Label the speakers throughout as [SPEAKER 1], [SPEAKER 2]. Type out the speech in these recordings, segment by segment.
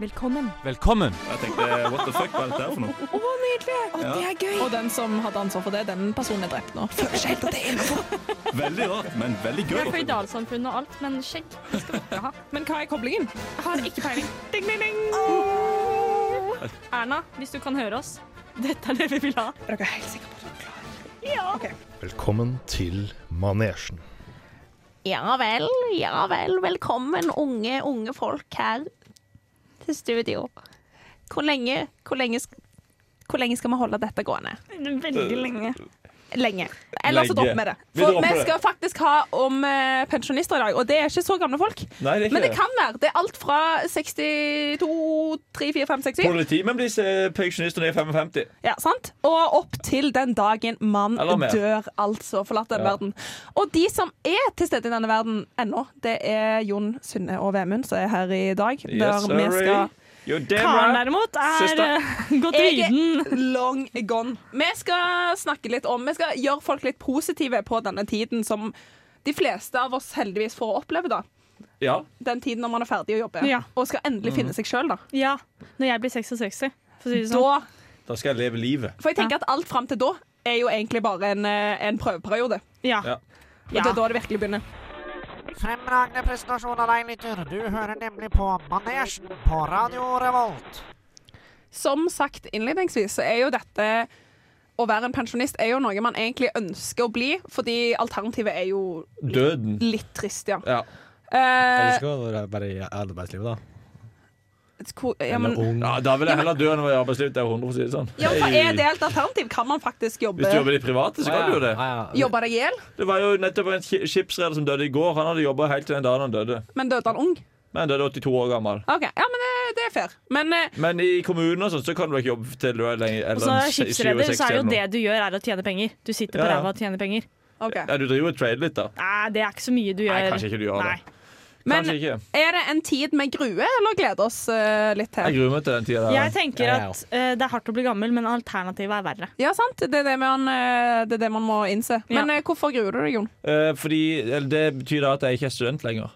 [SPEAKER 1] Velkommen.
[SPEAKER 2] Velkommen!
[SPEAKER 3] Jeg tenkte what the fuck, hva er dette her for noe?
[SPEAKER 1] Å, nydelig!
[SPEAKER 3] Ja.
[SPEAKER 1] Det er gøy.
[SPEAKER 4] Og den som hadde ansvar for det, den personen er drept nå.
[SPEAKER 1] Føler seg helt at det er innenfor.
[SPEAKER 3] Veldig rart, men veldig
[SPEAKER 5] Vi er
[SPEAKER 3] gøy.
[SPEAKER 5] føydalsamfunn og alt, men skjegg det skal vi ikke ha.
[SPEAKER 4] Men hva er koblingen?
[SPEAKER 5] Jeg har ikke peiling. Ding, ding, ding. Erna, hvis du kan høre oss, dette er det vi vil ha.
[SPEAKER 1] Er dere helt sikre på at dere klarer det?
[SPEAKER 6] Velkommen til manesjen.
[SPEAKER 7] Ja vel, ja vel. Velkommen, unge, unge folk her til studio. Hvor lenge, hvor lenge, sk- hvor lenge skal vi holde dette gående?
[SPEAKER 5] Veldig lenge.
[SPEAKER 3] Eh,
[SPEAKER 7] Lenge.
[SPEAKER 3] Legge.
[SPEAKER 7] Eller så dropp vi det.
[SPEAKER 3] Vi
[SPEAKER 7] For
[SPEAKER 3] dropper
[SPEAKER 7] vi
[SPEAKER 3] det.
[SPEAKER 7] skal faktisk ha om eh, pensjonister i dag, og det er ikke så gamle folk.
[SPEAKER 3] Nei, det er
[SPEAKER 7] Men det
[SPEAKER 3] ikke det.
[SPEAKER 7] kan være. Det er alt fra 62, 3, 4, 5, 6, 7.
[SPEAKER 3] Politimenn blir eh, pensjonister når de er 55.
[SPEAKER 7] Ja, sant? Og opp til den dagen man
[SPEAKER 3] Eller mer.
[SPEAKER 7] dør, altså. Forlatt den
[SPEAKER 3] Ja.
[SPEAKER 7] verden. Og de som er til stede i denne verden ennå, det er Jon Synne og Vemund, som er her i dag.
[SPEAKER 3] Yes,
[SPEAKER 7] der vi skal
[SPEAKER 3] You're damn
[SPEAKER 5] Karen
[SPEAKER 3] right.
[SPEAKER 5] derimot er
[SPEAKER 3] Søster.
[SPEAKER 5] eh, gått
[SPEAKER 7] Jeg er-
[SPEAKER 5] viden.
[SPEAKER 7] Long gone. Vi skal snakke litt om Vi skal gjøre folk litt positive på denne tiden som de fleste av oss heldigvis får oppleve, da.
[SPEAKER 3] Ja.
[SPEAKER 7] Den tiden når man er ferdig å jobbe
[SPEAKER 5] Ja.
[SPEAKER 7] og skal endelig finne seg sjøl, da.
[SPEAKER 5] Ja, når jeg blir 66. For å si det sånn.
[SPEAKER 7] da.
[SPEAKER 3] Da skal jeg leve livet.
[SPEAKER 7] For jeg tenker at alt fram til da er jo egentlig bare en, eh, en prøveperiode.
[SPEAKER 5] Ja.
[SPEAKER 3] Ja.
[SPEAKER 7] Og
[SPEAKER 5] Ja.
[SPEAKER 7] det er da det virkelig begynner.
[SPEAKER 8] Fremragende presentasjon av deg, lytter. Du hører nemlig på Manesjen på Radio Revolt.
[SPEAKER 7] Som sagt innledningsvis, så er jo dette å være en pensjonist er jo noe man egentlig ønsker å bli, fordi alternativet er jo
[SPEAKER 3] Døden.
[SPEAKER 7] litt trist, ja.
[SPEAKER 3] Ja.
[SPEAKER 7] Eh,
[SPEAKER 9] skal være bare i arbeidslivet, da.
[SPEAKER 7] hvor- ja, men,
[SPEAKER 9] ung.
[SPEAKER 3] ja, Da vil jeg heller dø enn å være i arbeidslivet. Det er 100 for å si det sånn.
[SPEAKER 7] ja, for er
[SPEAKER 3] Hey.
[SPEAKER 7] det et alternativ? Kan man faktisk jobbe,
[SPEAKER 3] Hvis du jobber i det private, så kan du jo det.
[SPEAKER 7] jobbe deg i hjel?
[SPEAKER 3] Det var jo nettopp en ki- skipsreder som døde i går. Han hadde jobba helt til den dagen han døde.
[SPEAKER 7] Men døde han ung?
[SPEAKER 3] Men han døde 82 år gammel.
[SPEAKER 7] OK, ja, men det, det er fair. Men eh,
[SPEAKER 3] Men i kommunen og sånn, så kan du ikke jobbe til du er lenger
[SPEAKER 5] Og
[SPEAKER 3] eller
[SPEAKER 5] så er jeg
[SPEAKER 3] se-
[SPEAKER 5] skipsreder, så er
[SPEAKER 3] 67
[SPEAKER 5] det
[SPEAKER 3] eller
[SPEAKER 5] jo
[SPEAKER 3] noe.
[SPEAKER 5] det du gjør, er å tjene penger. Du sitter på
[SPEAKER 3] Ja, ja.
[SPEAKER 5] ræva og tjener penger.
[SPEAKER 7] OK.
[SPEAKER 3] Ja, du driver jo og trader litt, da.
[SPEAKER 5] Nei, det er ikke så mye du gjør.
[SPEAKER 3] Nei, kanskje ikke du gjør
[SPEAKER 5] Nei.
[SPEAKER 3] det.
[SPEAKER 7] Men
[SPEAKER 3] Kanskje ikke.
[SPEAKER 7] er det en tid vi gruer eller gleder oss eh, litt
[SPEAKER 3] Jeg
[SPEAKER 7] til?
[SPEAKER 3] gruer meg til den tida
[SPEAKER 5] Jeg
[SPEAKER 3] der.
[SPEAKER 5] tenker
[SPEAKER 9] Ja, ja, ja.
[SPEAKER 5] at eh, det er hardt å bli gammel, men alternativet er verre.
[SPEAKER 7] Ja, sant? Det er det man, eh, det er det man må innse. Men
[SPEAKER 5] Ja.
[SPEAKER 7] eh, hvorfor gruer du deg, Jon?
[SPEAKER 3] Eh, fordi eller Det betyr da at jeg ikke er student lenger.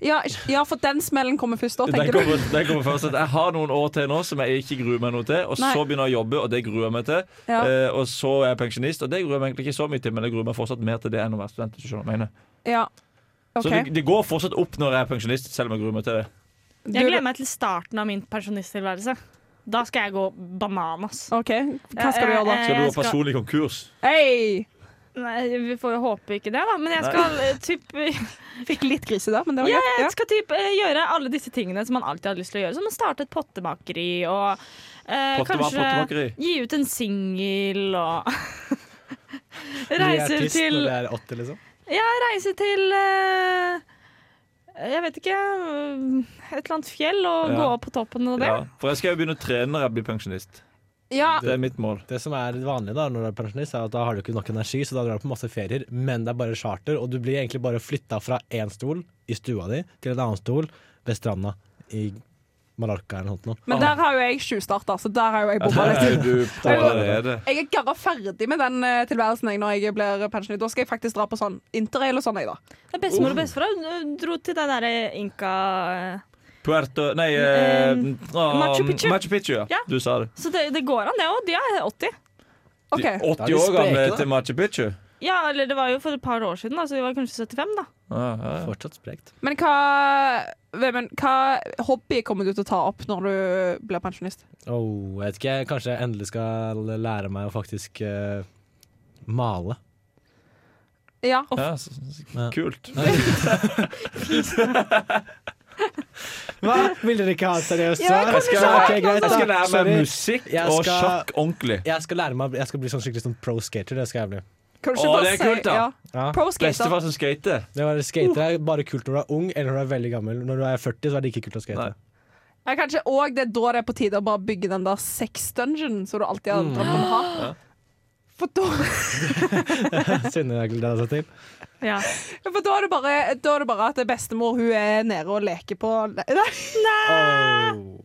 [SPEAKER 7] Ja, ja, for den smellen kommer først da,
[SPEAKER 3] Den
[SPEAKER 7] tenker du.
[SPEAKER 3] kommer, den kommer først at Jeg har noen år til nå som jeg ikke gruer meg noe til, og
[SPEAKER 7] Nei.
[SPEAKER 3] så begynner jeg å jobbe, og det gruer jeg meg til.
[SPEAKER 7] Ja.
[SPEAKER 3] Eh, og så er jeg pensjonist, og det gruer jeg meg egentlig ikke så mye til, men jeg gruer meg fortsatt mer til det enn å være student. hvis du skjønner hva jeg mener.
[SPEAKER 7] Ja. OK.
[SPEAKER 3] Så det, det går fortsatt opp når jeg er pensjonist, selv om jeg gruer meg til det.
[SPEAKER 5] Jeg gleder meg til starten av min pensjonisttilværelse. Da skal jeg gå bananas.
[SPEAKER 7] OK, hva skal du gjøre da?
[SPEAKER 5] Eh,
[SPEAKER 3] Skal du
[SPEAKER 5] jeg
[SPEAKER 3] gå personlig konkurs?
[SPEAKER 7] eh, Hei!
[SPEAKER 5] Nei, vi får jo håpe ikke det, da. Men jeg skal eh, typ,
[SPEAKER 7] Fikk litt grise der, men det var
[SPEAKER 5] ja,
[SPEAKER 7] greit. Ja.
[SPEAKER 5] jeg skal typ eh, gjøre alle disse tingene som man alltid har lyst til å gjøre. Som å starte et pottemakeri og eh,
[SPEAKER 3] Pottema-
[SPEAKER 5] kanskje
[SPEAKER 3] pottemakeri.
[SPEAKER 5] gi ut en singel og Reiser til
[SPEAKER 9] det er 80, liksom.
[SPEAKER 5] Ja, reise til eh, Jeg vet ikke eh, Et eller annet fjell og
[SPEAKER 3] Ja.
[SPEAKER 5] gå opp på toppen av det.
[SPEAKER 3] Ja, for jeg skal jo begynne å trene når jeg blir pensjonist.
[SPEAKER 7] Ja,
[SPEAKER 3] Det er mitt mål.
[SPEAKER 9] Det som er vanlig da når du er pensjonist, er at da har du ikke nok energi, så da drar du på masse ferier, men det er bare charter, og du blir egentlig bare flytta fra én stol i stua di til en annen stol ved stranda i Mallorca eller noe sånt. nå.
[SPEAKER 7] men der har jo jeg tjuvstarta, så der har jo jeg bomma litt.
[SPEAKER 3] Ah. Er du på allerede?
[SPEAKER 7] Jeg er garra ferdig med den eh, tilværelsen jeg når jeg blir pensjonist. Da skal jeg faktisk dra på sånn interrail og sånn, jeg, da.
[SPEAKER 5] Det er
[SPEAKER 3] Oh.
[SPEAKER 5] Bestemor og bestefar hun dro til det derre inka... eh,
[SPEAKER 3] Puerto Nei, eh,
[SPEAKER 5] Mm,
[SPEAKER 3] ah,
[SPEAKER 5] Machu Picchu.
[SPEAKER 3] Machu Picchu ja.
[SPEAKER 5] Ja.
[SPEAKER 3] Du sa det.
[SPEAKER 5] Så det, det går an, det òg. De er 80.
[SPEAKER 3] De
[SPEAKER 7] OK.
[SPEAKER 9] Da er
[SPEAKER 3] 80
[SPEAKER 9] de
[SPEAKER 3] år gamle
[SPEAKER 9] spreke, da.
[SPEAKER 3] til Machu Picchu.
[SPEAKER 5] Ja, eller det var jo for et par år siden, da, så de var kanskje 75, da.
[SPEAKER 3] Ja, Ah, ja, ja.
[SPEAKER 9] Fortsatt sprekt.
[SPEAKER 7] Men hva Vemund, hva hobby kommer du til å ta opp når du blir pensjonist?
[SPEAKER 9] Oh, jeg vet ikke, kanskje jeg endelig skal lære meg å faktisk eh, male.
[SPEAKER 7] Ja.
[SPEAKER 3] Ja, så- så-
[SPEAKER 9] Ja.
[SPEAKER 3] kult.
[SPEAKER 9] Hva? Vil dere ikke ha et seriøst
[SPEAKER 7] Ja,
[SPEAKER 9] svar?
[SPEAKER 7] jeg
[SPEAKER 3] Jeg skal,
[SPEAKER 9] Ok, greit,
[SPEAKER 3] jeg skal
[SPEAKER 9] da.
[SPEAKER 3] lære meg
[SPEAKER 9] Sorry.
[SPEAKER 3] musikk
[SPEAKER 9] Jeg
[SPEAKER 3] og
[SPEAKER 9] skal-
[SPEAKER 3] sjakk ordentlig.
[SPEAKER 9] Jeg skal lære meg Jeg skal bli sånn skikkelig sånn pro skater. Det skal jeg bli.
[SPEAKER 7] Kan du ikke
[SPEAKER 3] Å,
[SPEAKER 7] bare
[SPEAKER 3] det er kult, da.
[SPEAKER 7] Ja.
[SPEAKER 9] Ja.
[SPEAKER 7] Pro skater.
[SPEAKER 3] Bestefar som skater.
[SPEAKER 9] Det var Skater er bare kult når du er ung eller når du er veldig gammel. Når du er 40, så er det ikke kult å skate.
[SPEAKER 3] Nei.
[SPEAKER 7] Ja, kanskje òg det er da det er på tide å bare bygge den der sex-dungeon som du alltid
[SPEAKER 3] Mm.
[SPEAKER 7] har drømt om å ha. For da
[SPEAKER 9] Synne jeg gleder seg til.
[SPEAKER 5] Ja.
[SPEAKER 7] Ja, For da er det bare, da er det bare at bestemor hun er nede og leker på Nei,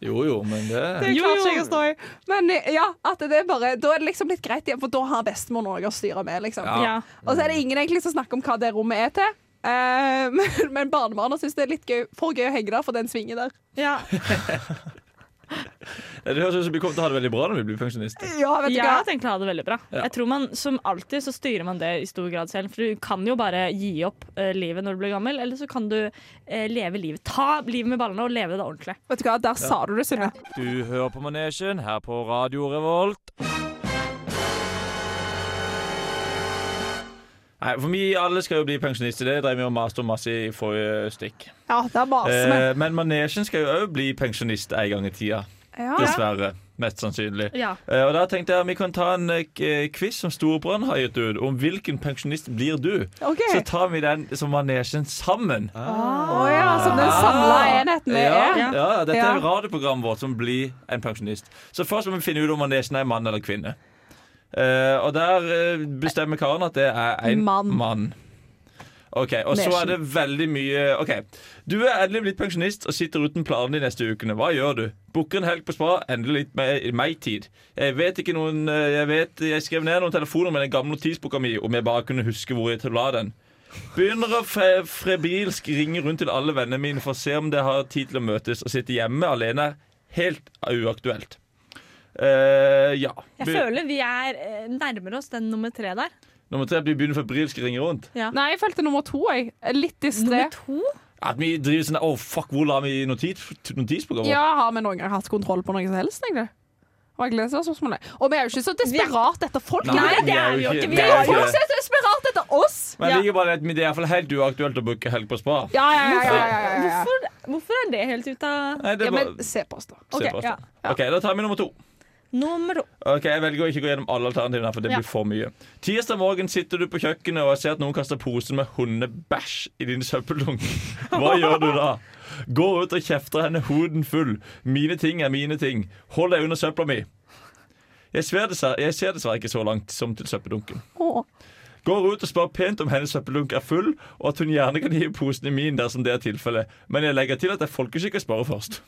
[SPEAKER 3] Jo jo, men det
[SPEAKER 7] det
[SPEAKER 5] Jo,
[SPEAKER 7] klarte
[SPEAKER 5] jo.
[SPEAKER 7] ikke jeg å stå i. Men eh, ja, at det er bare, da er det liksom litt greit igjen, for da har bestemor noe å styre med. liksom.
[SPEAKER 3] Ja.
[SPEAKER 5] ja.
[SPEAKER 7] Og så er det ingen egentlig som snakker om hva det rommet er til. Eh, men, men barnebarna syns det er litt gøy, for gøy å henge der for den svingen der.
[SPEAKER 5] Ja.
[SPEAKER 3] Det høres ut som vi kommer til å ha det veldig bra når vi blir pensjonister.
[SPEAKER 7] Ja, vet du
[SPEAKER 5] Jeg
[SPEAKER 7] hva?
[SPEAKER 5] hadde egentlig hatt det veldig bra.
[SPEAKER 3] Ja.
[SPEAKER 5] Jeg tror man, Som alltid så styrer man det i stor grad selv. For du kan jo bare gi opp eh, livet når du blir gammel, eller så kan du eh, leve livet. Ta livet med ballene og leve det ordentlig.
[SPEAKER 7] Vet du hva? Der sa du det, Synne.
[SPEAKER 3] Du hører på Manesjen her på Radio Revolt. Nei, for vi alle skal jo bli pensjonister. Det drev vi og maste om masse i forrige stikk.
[SPEAKER 7] Ja, der maser vi.
[SPEAKER 3] Eh, men manesjen skal jo òg bli pensjonist en gang i tida.
[SPEAKER 7] Ja.
[SPEAKER 3] Dessverre. Mest sannsynlig.
[SPEAKER 5] Ja.
[SPEAKER 3] Eh, og da tenkte jeg Vi kan ta en eh, k- quiz som Storebrand har gitt ut, om hvilken pensjonist blir du.
[SPEAKER 7] OK.
[SPEAKER 3] Så tar vi den som manesjen sammen.
[SPEAKER 7] Å ja, som den samla enheten
[SPEAKER 3] Ah.
[SPEAKER 7] vi
[SPEAKER 3] Ja,
[SPEAKER 7] er.
[SPEAKER 3] ja, dette
[SPEAKER 7] Ja.
[SPEAKER 3] er radioprogrammet vårt som blir en pensjonist. Så først må vi finne ut om manesjen er mann eller kvinne. Eh, og der eh, bestemmer Karen at det er en
[SPEAKER 7] Mann.
[SPEAKER 3] Ok, Og så
[SPEAKER 7] Nesjen.
[SPEAKER 3] er det veldig mye Ok, Du er endelig blitt pensjonist og sitter uten planer de neste ukene. Hva gjør du? Booker en helg på spa. Endelig litt me- meg-tid. Jeg vet ikke noen eh, Jeg vet, jeg skrev ned noen telefoner med den gamle notisboka mi om jeg bare kunne huske hvor jeg la den. Begynner å fre frebilsk ringe rundt til alle vennene mine for å se om det har tid til å møtes. Å sitte hjemme alene er helt uaktuelt. Eh, ja.
[SPEAKER 10] Jeg
[SPEAKER 3] Be-
[SPEAKER 10] føler vi er eh, nærmere oss den nummer tre der.
[SPEAKER 3] Nummer tre blir begynne febrilsk å ringe rundt.
[SPEAKER 7] Nei, jeg følte nummer to, jeg. Eh, Litt distré.
[SPEAKER 10] Nummer to?
[SPEAKER 3] At vi driver sånn Å, fuck, hvor la vi notis, notisboka vår?
[SPEAKER 7] Ja, har vi noen gang hatt kontroll på noe som helst, egentlig? Og jeg gleder meg til spørsmålet. Og vi er jo ikke så desperat etter folk.
[SPEAKER 3] Nei,
[SPEAKER 7] Nei,
[SPEAKER 3] vi er jo ikke
[SPEAKER 7] det er jo folk
[SPEAKER 3] ikke
[SPEAKER 7] som er så desperat etter oss!
[SPEAKER 3] Men jeg liker bare at det er iallfall helt uaktuelt å booke helg på spa.
[SPEAKER 7] Ja, ja, ja. ja, ja, ja, ja.
[SPEAKER 10] Hvorfor, hvorfor er det helt ut av
[SPEAKER 3] Nei, det
[SPEAKER 7] ja
[SPEAKER 3] er
[SPEAKER 7] men
[SPEAKER 3] bare,
[SPEAKER 7] se på oss, da.
[SPEAKER 3] se
[SPEAKER 10] ok,
[SPEAKER 3] på oss
[SPEAKER 10] ja.
[SPEAKER 3] da. OK, da tar vi nummer to.
[SPEAKER 10] Nummer
[SPEAKER 3] Ok, Jeg velger å ikke gå gjennom alle alternativene, her, for det
[SPEAKER 10] Ja.
[SPEAKER 3] blir for mye. Tirsdag morgen sitter du på kjøkkenet og jeg ser at noen kaster posen med hundebæsj i din søppeldunk. Hva gjør du da? Gå ut og kjefter henne hoden full. Mine ting er mine ting. Hold deg under søpla mi. Jeg, sver dessverre- jeg ser dessverre ikke så langt som til søppeldunken. Går ut og spør pent om hennes søppeldunk er full, og at hun gjerne kan gi posen i min dersom det er tilfellet. Men jeg legger til at det er folkeskikk å spørre først.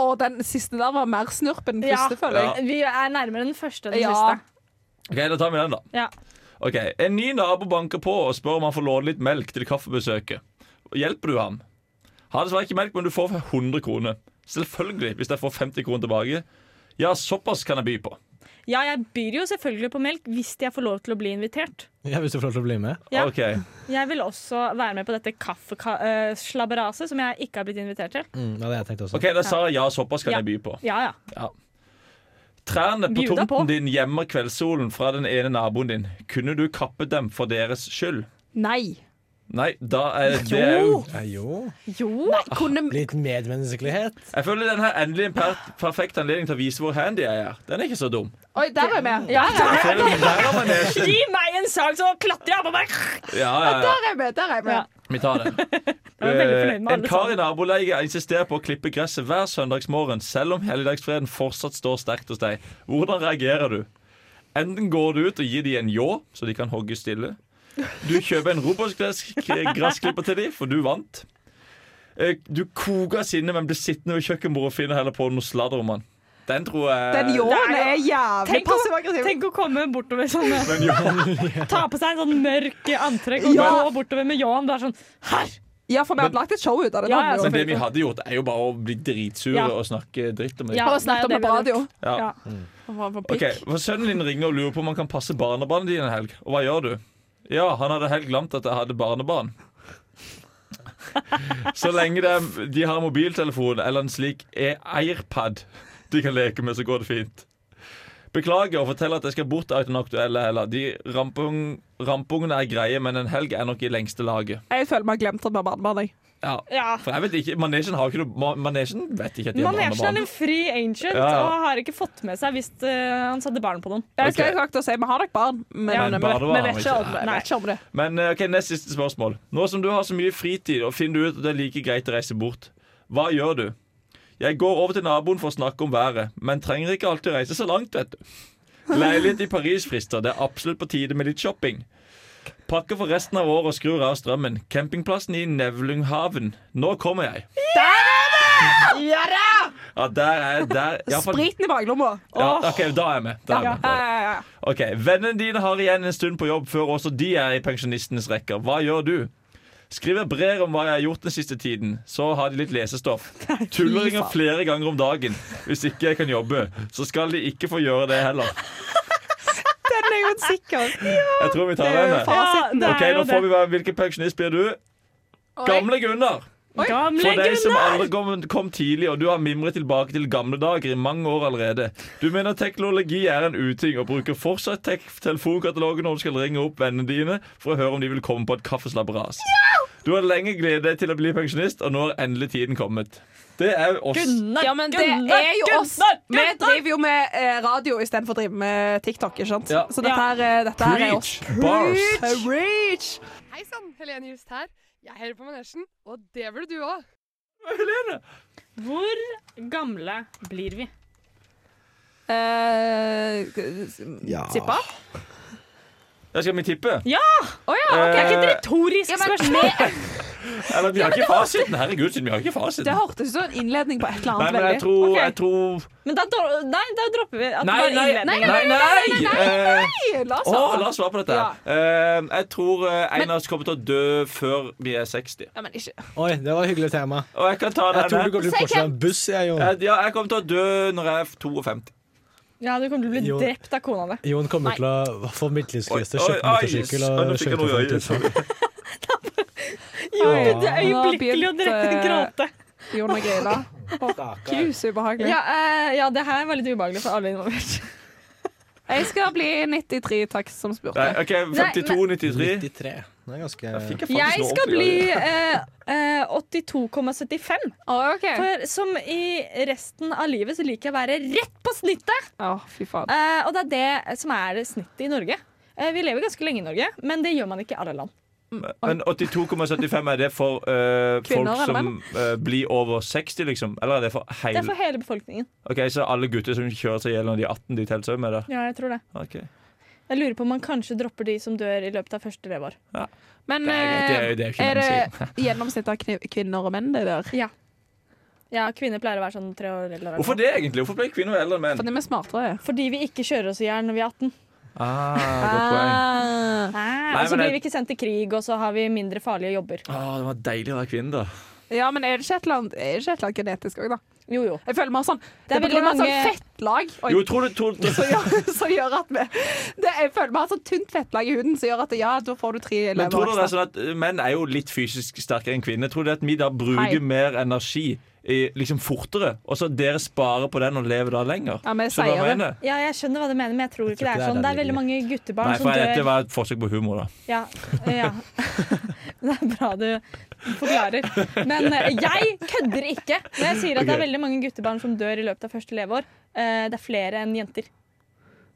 [SPEAKER 7] Og den siste der var mer snurp enn den
[SPEAKER 5] Ja.
[SPEAKER 7] første, føler jeg.
[SPEAKER 5] Vi er nærmere den første og den
[SPEAKER 7] Ja.
[SPEAKER 5] siste.
[SPEAKER 3] Ok, Da tar vi den, da.
[SPEAKER 5] Ja.
[SPEAKER 3] Ok, En ny nabo banker på og spør om han får låne litt melk til kaffebesøket. Hjelper du ham? Har dessverre ikke melk, men du får 100 kroner. Selvfølgelig, hvis jeg får 50 kroner tilbake. Ja, såpass kan jeg by på.
[SPEAKER 5] ja, jeg byr jo selvfølgelig på melk hvis jeg får lov til å bli invitert.
[SPEAKER 9] Ja, hvis du får lov til å bli med.
[SPEAKER 5] Ja.
[SPEAKER 3] Ok,
[SPEAKER 5] Jeg vil også være med på dette kaffeslabberaset som jeg ikke har blitt invitert til.
[SPEAKER 9] Mm, ja, det jeg tenkte også.
[SPEAKER 3] Ok, da sa jeg ja, såpass kan
[SPEAKER 5] Ja.
[SPEAKER 3] jeg by på.
[SPEAKER 5] Ja, ja.
[SPEAKER 3] Trærne på
[SPEAKER 5] Bjuda
[SPEAKER 3] tomten
[SPEAKER 5] på.
[SPEAKER 3] din gjemmer kveldssolen fra den ene naboen din. Kunne du kappet dem for deres skyld?
[SPEAKER 7] Nei.
[SPEAKER 3] Nei, da er det jo
[SPEAKER 9] Ja, jo.
[SPEAKER 5] Jo!
[SPEAKER 7] Nei, kunne
[SPEAKER 9] Litt medmenneskelighet.
[SPEAKER 3] Jeg føler den her endelig en per perfekt anledning til å vise hvor handy jeg er. Den er ikke så dum.
[SPEAKER 7] Oi, der er vi.
[SPEAKER 5] Ja, ja.
[SPEAKER 3] Selv om der har man nesen.
[SPEAKER 5] Gi meg en sak, så klatrer jeg på meg!
[SPEAKER 3] Ja, ja, ja.
[SPEAKER 7] Der er vi. Der er vi.
[SPEAKER 5] Ja.
[SPEAKER 3] Vi tar den.
[SPEAKER 5] var veldig fornøyd med
[SPEAKER 3] Eh, En
[SPEAKER 5] alle
[SPEAKER 3] kar i naboleiet insisterer på å klippe gresset hver søndagsmorgen, selv om helligdagsfreden fortsatt står sterkt hos deg. Hvordan reagerer du? Enten går du ut og gir dem en ljå, så de kan hogge stille. Du kjøper en robotgressklipper til dem, for du vant. Eh, Du koker av sinne, men blir sittende ved kjøkkenbordet og finner heller på noe sladder om han. Den tror jeg
[SPEAKER 7] Den ljåen er jævlig
[SPEAKER 5] Tenk å-
[SPEAKER 7] passiv-aggressiv.
[SPEAKER 5] Tenk å komme bortover sånn eh,
[SPEAKER 3] Den ljåen.
[SPEAKER 5] Ta på seg en sånn mørk antrekk og
[SPEAKER 7] Ja.
[SPEAKER 5] gå bortover med ljåen. Du er sånn Her!
[SPEAKER 7] Ja, for vi hadde lagt et show ut av det.
[SPEAKER 5] Ja,
[SPEAKER 7] hadde
[SPEAKER 5] ja,
[SPEAKER 3] Men det vi
[SPEAKER 7] jo.
[SPEAKER 3] hadde gjort, er jo bare å bli dritsure
[SPEAKER 5] Ja.
[SPEAKER 3] og snakke dritt om det.
[SPEAKER 5] Ja.
[SPEAKER 7] Bare snakket om
[SPEAKER 5] Nei, det
[SPEAKER 7] det på
[SPEAKER 5] var
[SPEAKER 7] radio.
[SPEAKER 3] Ja.
[SPEAKER 5] Ja.
[SPEAKER 3] Ok, for Sønnen din ringer og lurer på om han kan passe barnebarnet ditt en helg. Og hva gjør du? Ja, han hadde helt glemt at jeg hadde barnebarn. Så lenge de, de har mobiltelefon eller en slik e- Airpad de kan leke med, så går det fint. Beklager og fortell at jeg skal bort av den aktuelle heller. De rampung, rampungene er greie, men en helg er nok i lengste laget.
[SPEAKER 7] Jeg føler meg glemt at vi har barnebarn. jeg.
[SPEAKER 3] Ja,
[SPEAKER 5] Ja.
[SPEAKER 3] for jeg vet ikke, Manesjen har ikke noe ma- Manesjen vet ikke at de har
[SPEAKER 5] Manesjen er sånn
[SPEAKER 3] barnebarn.
[SPEAKER 5] en fri ancient
[SPEAKER 3] Ja, ja.
[SPEAKER 5] og har ikke fått med seg hvis eh, han satte barn på noen.
[SPEAKER 7] Jeg skal
[SPEAKER 3] Ok.
[SPEAKER 7] ikke akkurat si vi har nok barn, men
[SPEAKER 5] Ja.
[SPEAKER 7] vi
[SPEAKER 3] Men
[SPEAKER 7] vi
[SPEAKER 3] barnebarn har vi
[SPEAKER 7] vet ikke
[SPEAKER 3] ikke.
[SPEAKER 7] om det. Vi
[SPEAKER 5] Nei.
[SPEAKER 7] vet ikke om det.
[SPEAKER 3] Men eh, ok, nest siste spørsmål. Nå som du har så mye fritid og finner du ut at det er like greit å reise bort, hva gjør du? Jeg går over til naboen for å snakke om været, men trenger ikke alltid å reise så langt, vet du. Leilighet i Paris frister, det er absolutt på tide med litt shopping. Pakker for resten av året og skrur av strømmen. Campingplassen i Nevlunghaven. Nå kommer jeg. Der er det! Ja da! Ja, der er der. Ja, for,
[SPEAKER 7] Spriten i baklomma.
[SPEAKER 3] ja, OK, da er jeg med. Da er jeg med.
[SPEAKER 7] Ja, ja, ja, ja.
[SPEAKER 3] Ok, Vennene dine har igjen en stund på jobb før også de er i pensjonistenes rekker. Hva gjør du? Skriver brev om hva jeg har gjort den siste tiden. Så har de litt lesestoff. Tulleringer flere ganger om dagen. Hvis ikke jeg kan jobbe, så skal de ikke få gjøre det heller.
[SPEAKER 1] Den er jo sikker.
[SPEAKER 3] Jeg tror vi tar
[SPEAKER 1] Det er
[SPEAKER 3] den.
[SPEAKER 1] jo
[SPEAKER 3] jeg.
[SPEAKER 1] faen-
[SPEAKER 5] det
[SPEAKER 3] Ok,
[SPEAKER 5] er jo
[SPEAKER 3] nå får
[SPEAKER 5] det.
[SPEAKER 3] vi være Hvilken pensjonist blir du? Gamle Gunnar.
[SPEAKER 5] Gamle
[SPEAKER 3] For deg som
[SPEAKER 5] Gunnar!
[SPEAKER 3] aldri kom, kom tidlig, og du har mimret tilbake til gamle dager i mange år allerede. Du mener teknologi er en uting, og bruker fortsatt tek telefonkatalogen når du skal ringe opp vennene dine for å høre om de vil komme på et kaffeslabberas. Du har lenge gledet deg til å bli pensjonist, og nå er endelig tiden kommet. Det er jo oss.
[SPEAKER 5] Gunnar,
[SPEAKER 7] Ja, men det
[SPEAKER 5] Gunnar,
[SPEAKER 7] er jo oss.
[SPEAKER 5] Gunnar,
[SPEAKER 7] Vi
[SPEAKER 5] Gunnar!
[SPEAKER 7] driver jo med eh, radio istedenfor å drive med TikTok. ikke sant?
[SPEAKER 3] Ja.
[SPEAKER 7] Så dette, her, eh, dette her er oss.
[SPEAKER 3] Preach bars.
[SPEAKER 7] Reach!
[SPEAKER 11] Hei sann, Helene Just her. Jeg hører på Manesjen, og det burde du òg.
[SPEAKER 3] Helene.
[SPEAKER 5] Hvor gamle blir vi?
[SPEAKER 7] Eh,
[SPEAKER 9] Ja.
[SPEAKER 7] Sippa?
[SPEAKER 3] Jeg skal vi tippe?
[SPEAKER 7] Å ja!
[SPEAKER 5] Det er ikke et
[SPEAKER 3] Eh,
[SPEAKER 5] retorisk spørsmål.
[SPEAKER 3] Eller, vi har ikke fasiten. Herregud, siden vi har ikke
[SPEAKER 7] Det
[SPEAKER 3] fasiten.
[SPEAKER 7] hørtes ut som en innledning på et eller
[SPEAKER 3] Nei,
[SPEAKER 7] annet.
[SPEAKER 3] men jeg
[SPEAKER 7] veldig.
[SPEAKER 3] tror,
[SPEAKER 5] Ok.
[SPEAKER 3] jeg tror
[SPEAKER 5] Men da, dro- nei, da dropper vi at det
[SPEAKER 3] Nei,
[SPEAKER 5] var
[SPEAKER 3] nei, nei!
[SPEAKER 5] innledningen.
[SPEAKER 3] nei, nei, Eh,
[SPEAKER 7] Nei, la oss
[SPEAKER 3] Å,
[SPEAKER 7] ha det.
[SPEAKER 3] la oss svare på dette.
[SPEAKER 7] Ja.
[SPEAKER 3] Eh, jeg tror eh, en av oss kommer til å dø før vi er 60.
[SPEAKER 7] Ja, men ikke
[SPEAKER 9] Oi, det var et hyggelig tema.
[SPEAKER 3] Og jeg kan ta
[SPEAKER 9] Jeg
[SPEAKER 3] den
[SPEAKER 9] tror
[SPEAKER 3] her.
[SPEAKER 9] du går til å fortsette en buss, jeg, Jon.
[SPEAKER 3] Eh, Ja, jeg kommer til å dø når jeg er 52.
[SPEAKER 5] Ja, du kommer til å bli
[SPEAKER 9] Jo.
[SPEAKER 5] drept av kona di.
[SPEAKER 9] Jon kommer til å få midtlivskrise,
[SPEAKER 3] Oi, oi, oi,
[SPEAKER 9] kjøpe motorsykkel
[SPEAKER 3] oi,
[SPEAKER 9] og
[SPEAKER 3] nå fikk jeg
[SPEAKER 9] kjøre
[SPEAKER 3] noe i øyet,
[SPEAKER 9] til folk.
[SPEAKER 3] sorry.
[SPEAKER 5] Jon begynte
[SPEAKER 9] Nå har
[SPEAKER 5] øyeblikkelig å
[SPEAKER 7] begynt,
[SPEAKER 5] dre-
[SPEAKER 7] eh,
[SPEAKER 5] gråte.
[SPEAKER 7] Jon og Grila.
[SPEAKER 9] Stakkar.
[SPEAKER 7] Knuse ubehagelig.
[SPEAKER 5] Ja, eh, ja, det her var litt ubehagelig for alle involvert.
[SPEAKER 7] Jeg skal bli 93, takk som spurte.
[SPEAKER 3] Nei, Eh, OK, 52-93.
[SPEAKER 9] 93. Det er ganske
[SPEAKER 3] Da fikk jeg faktisk
[SPEAKER 5] Jeg
[SPEAKER 3] noe
[SPEAKER 5] skal
[SPEAKER 3] ordentlig i
[SPEAKER 5] bli
[SPEAKER 3] øyet.
[SPEAKER 5] eh, eh, 82,75.
[SPEAKER 7] Å, ok.
[SPEAKER 5] For som i resten av livet så liker jeg å være rett på snittet.
[SPEAKER 7] Å, fy faen.
[SPEAKER 5] Eh, og det er det som er snittet i Norge. Eh, vi lever ganske lenge i Norge, men det gjør man ikke i alle land.
[SPEAKER 3] Men 82,75 er det for eh,
[SPEAKER 7] Kvinner,
[SPEAKER 3] folk
[SPEAKER 7] eller
[SPEAKER 3] som eh, blir over 60, liksom? Eller er det for
[SPEAKER 5] Det
[SPEAKER 3] hele
[SPEAKER 5] er for hele befolkningen.
[SPEAKER 3] OK, så alle gutter som kjører seg i hjel når de er 18, de teller seg med der?
[SPEAKER 5] Ja, jeg tror det.
[SPEAKER 3] Ok.
[SPEAKER 5] Jeg lurer på om man kanskje dropper de som dør i løpet av første leveår.
[SPEAKER 7] Men
[SPEAKER 3] Det er, det er, jo- det er jo
[SPEAKER 7] eh,
[SPEAKER 3] ikke
[SPEAKER 7] er
[SPEAKER 3] noe å si.
[SPEAKER 7] det gjennomsnitt av kni- kvinner og menn det der?
[SPEAKER 5] Ja, kvinner pleier å være sånn tre år eldre.
[SPEAKER 3] Hvorfor det, egentlig? Hvorfor ble kvinner eldre enn menn?
[SPEAKER 7] Fordi vi er smartere.
[SPEAKER 5] Fordi vi ikke kjører oss i hjel når vi er 18.
[SPEAKER 3] Ah, godt poeng.
[SPEAKER 7] Ah.
[SPEAKER 5] og så
[SPEAKER 3] men
[SPEAKER 5] blir
[SPEAKER 3] jeg-
[SPEAKER 5] vi ikke sendt til krig, og så har vi mindre farlige jobber.
[SPEAKER 3] Ah, det var deilig å være kvinne, da.
[SPEAKER 7] Ja, men er det ikke et eller annet, er det ikke et eller annet genetisk òg, da?
[SPEAKER 5] Jo, jo.
[SPEAKER 7] Jeg føler meg sånn Det er
[SPEAKER 5] veldig
[SPEAKER 7] veldig mange
[SPEAKER 5] mange-
[SPEAKER 7] sånn fettlag Oi.
[SPEAKER 3] Jo, tror du, tror, tror,
[SPEAKER 7] som, gjør, som gjør at vi det, Jeg føler meg har sånn tynt fettlag i huden som gjør at ja, da får du tre
[SPEAKER 3] men tror
[SPEAKER 7] lever
[SPEAKER 3] du det er sånn at eh, Menn er jo litt fysisk sterkere enn kvinner. Tror du at vi da bruker
[SPEAKER 7] Nei.
[SPEAKER 3] mer energi i, liksom fortere, og så dere sparer på den og lever da lenger?
[SPEAKER 7] Ja, vi
[SPEAKER 3] Skjønner du hva jeg
[SPEAKER 7] sier det.
[SPEAKER 3] mener?
[SPEAKER 5] Ja, jeg skjønner hva du mener, men jeg tror ikke det
[SPEAKER 9] ikke
[SPEAKER 5] er
[SPEAKER 9] det er
[SPEAKER 5] sånn. Det
[SPEAKER 9] der
[SPEAKER 5] er
[SPEAKER 9] det
[SPEAKER 5] veldig mange guttebarn
[SPEAKER 3] Nei,
[SPEAKER 5] som
[SPEAKER 3] for jeg, det
[SPEAKER 5] dør.
[SPEAKER 3] var et forsøk på humor, da.
[SPEAKER 5] Ja, ja. Det er bra du forklarer. Men eh, jeg kødder ikke når jeg sier at det er
[SPEAKER 3] Ok.
[SPEAKER 5] veldig mange guttebarn som dør i løpet av første leveår. Eh, Det er flere enn jenter.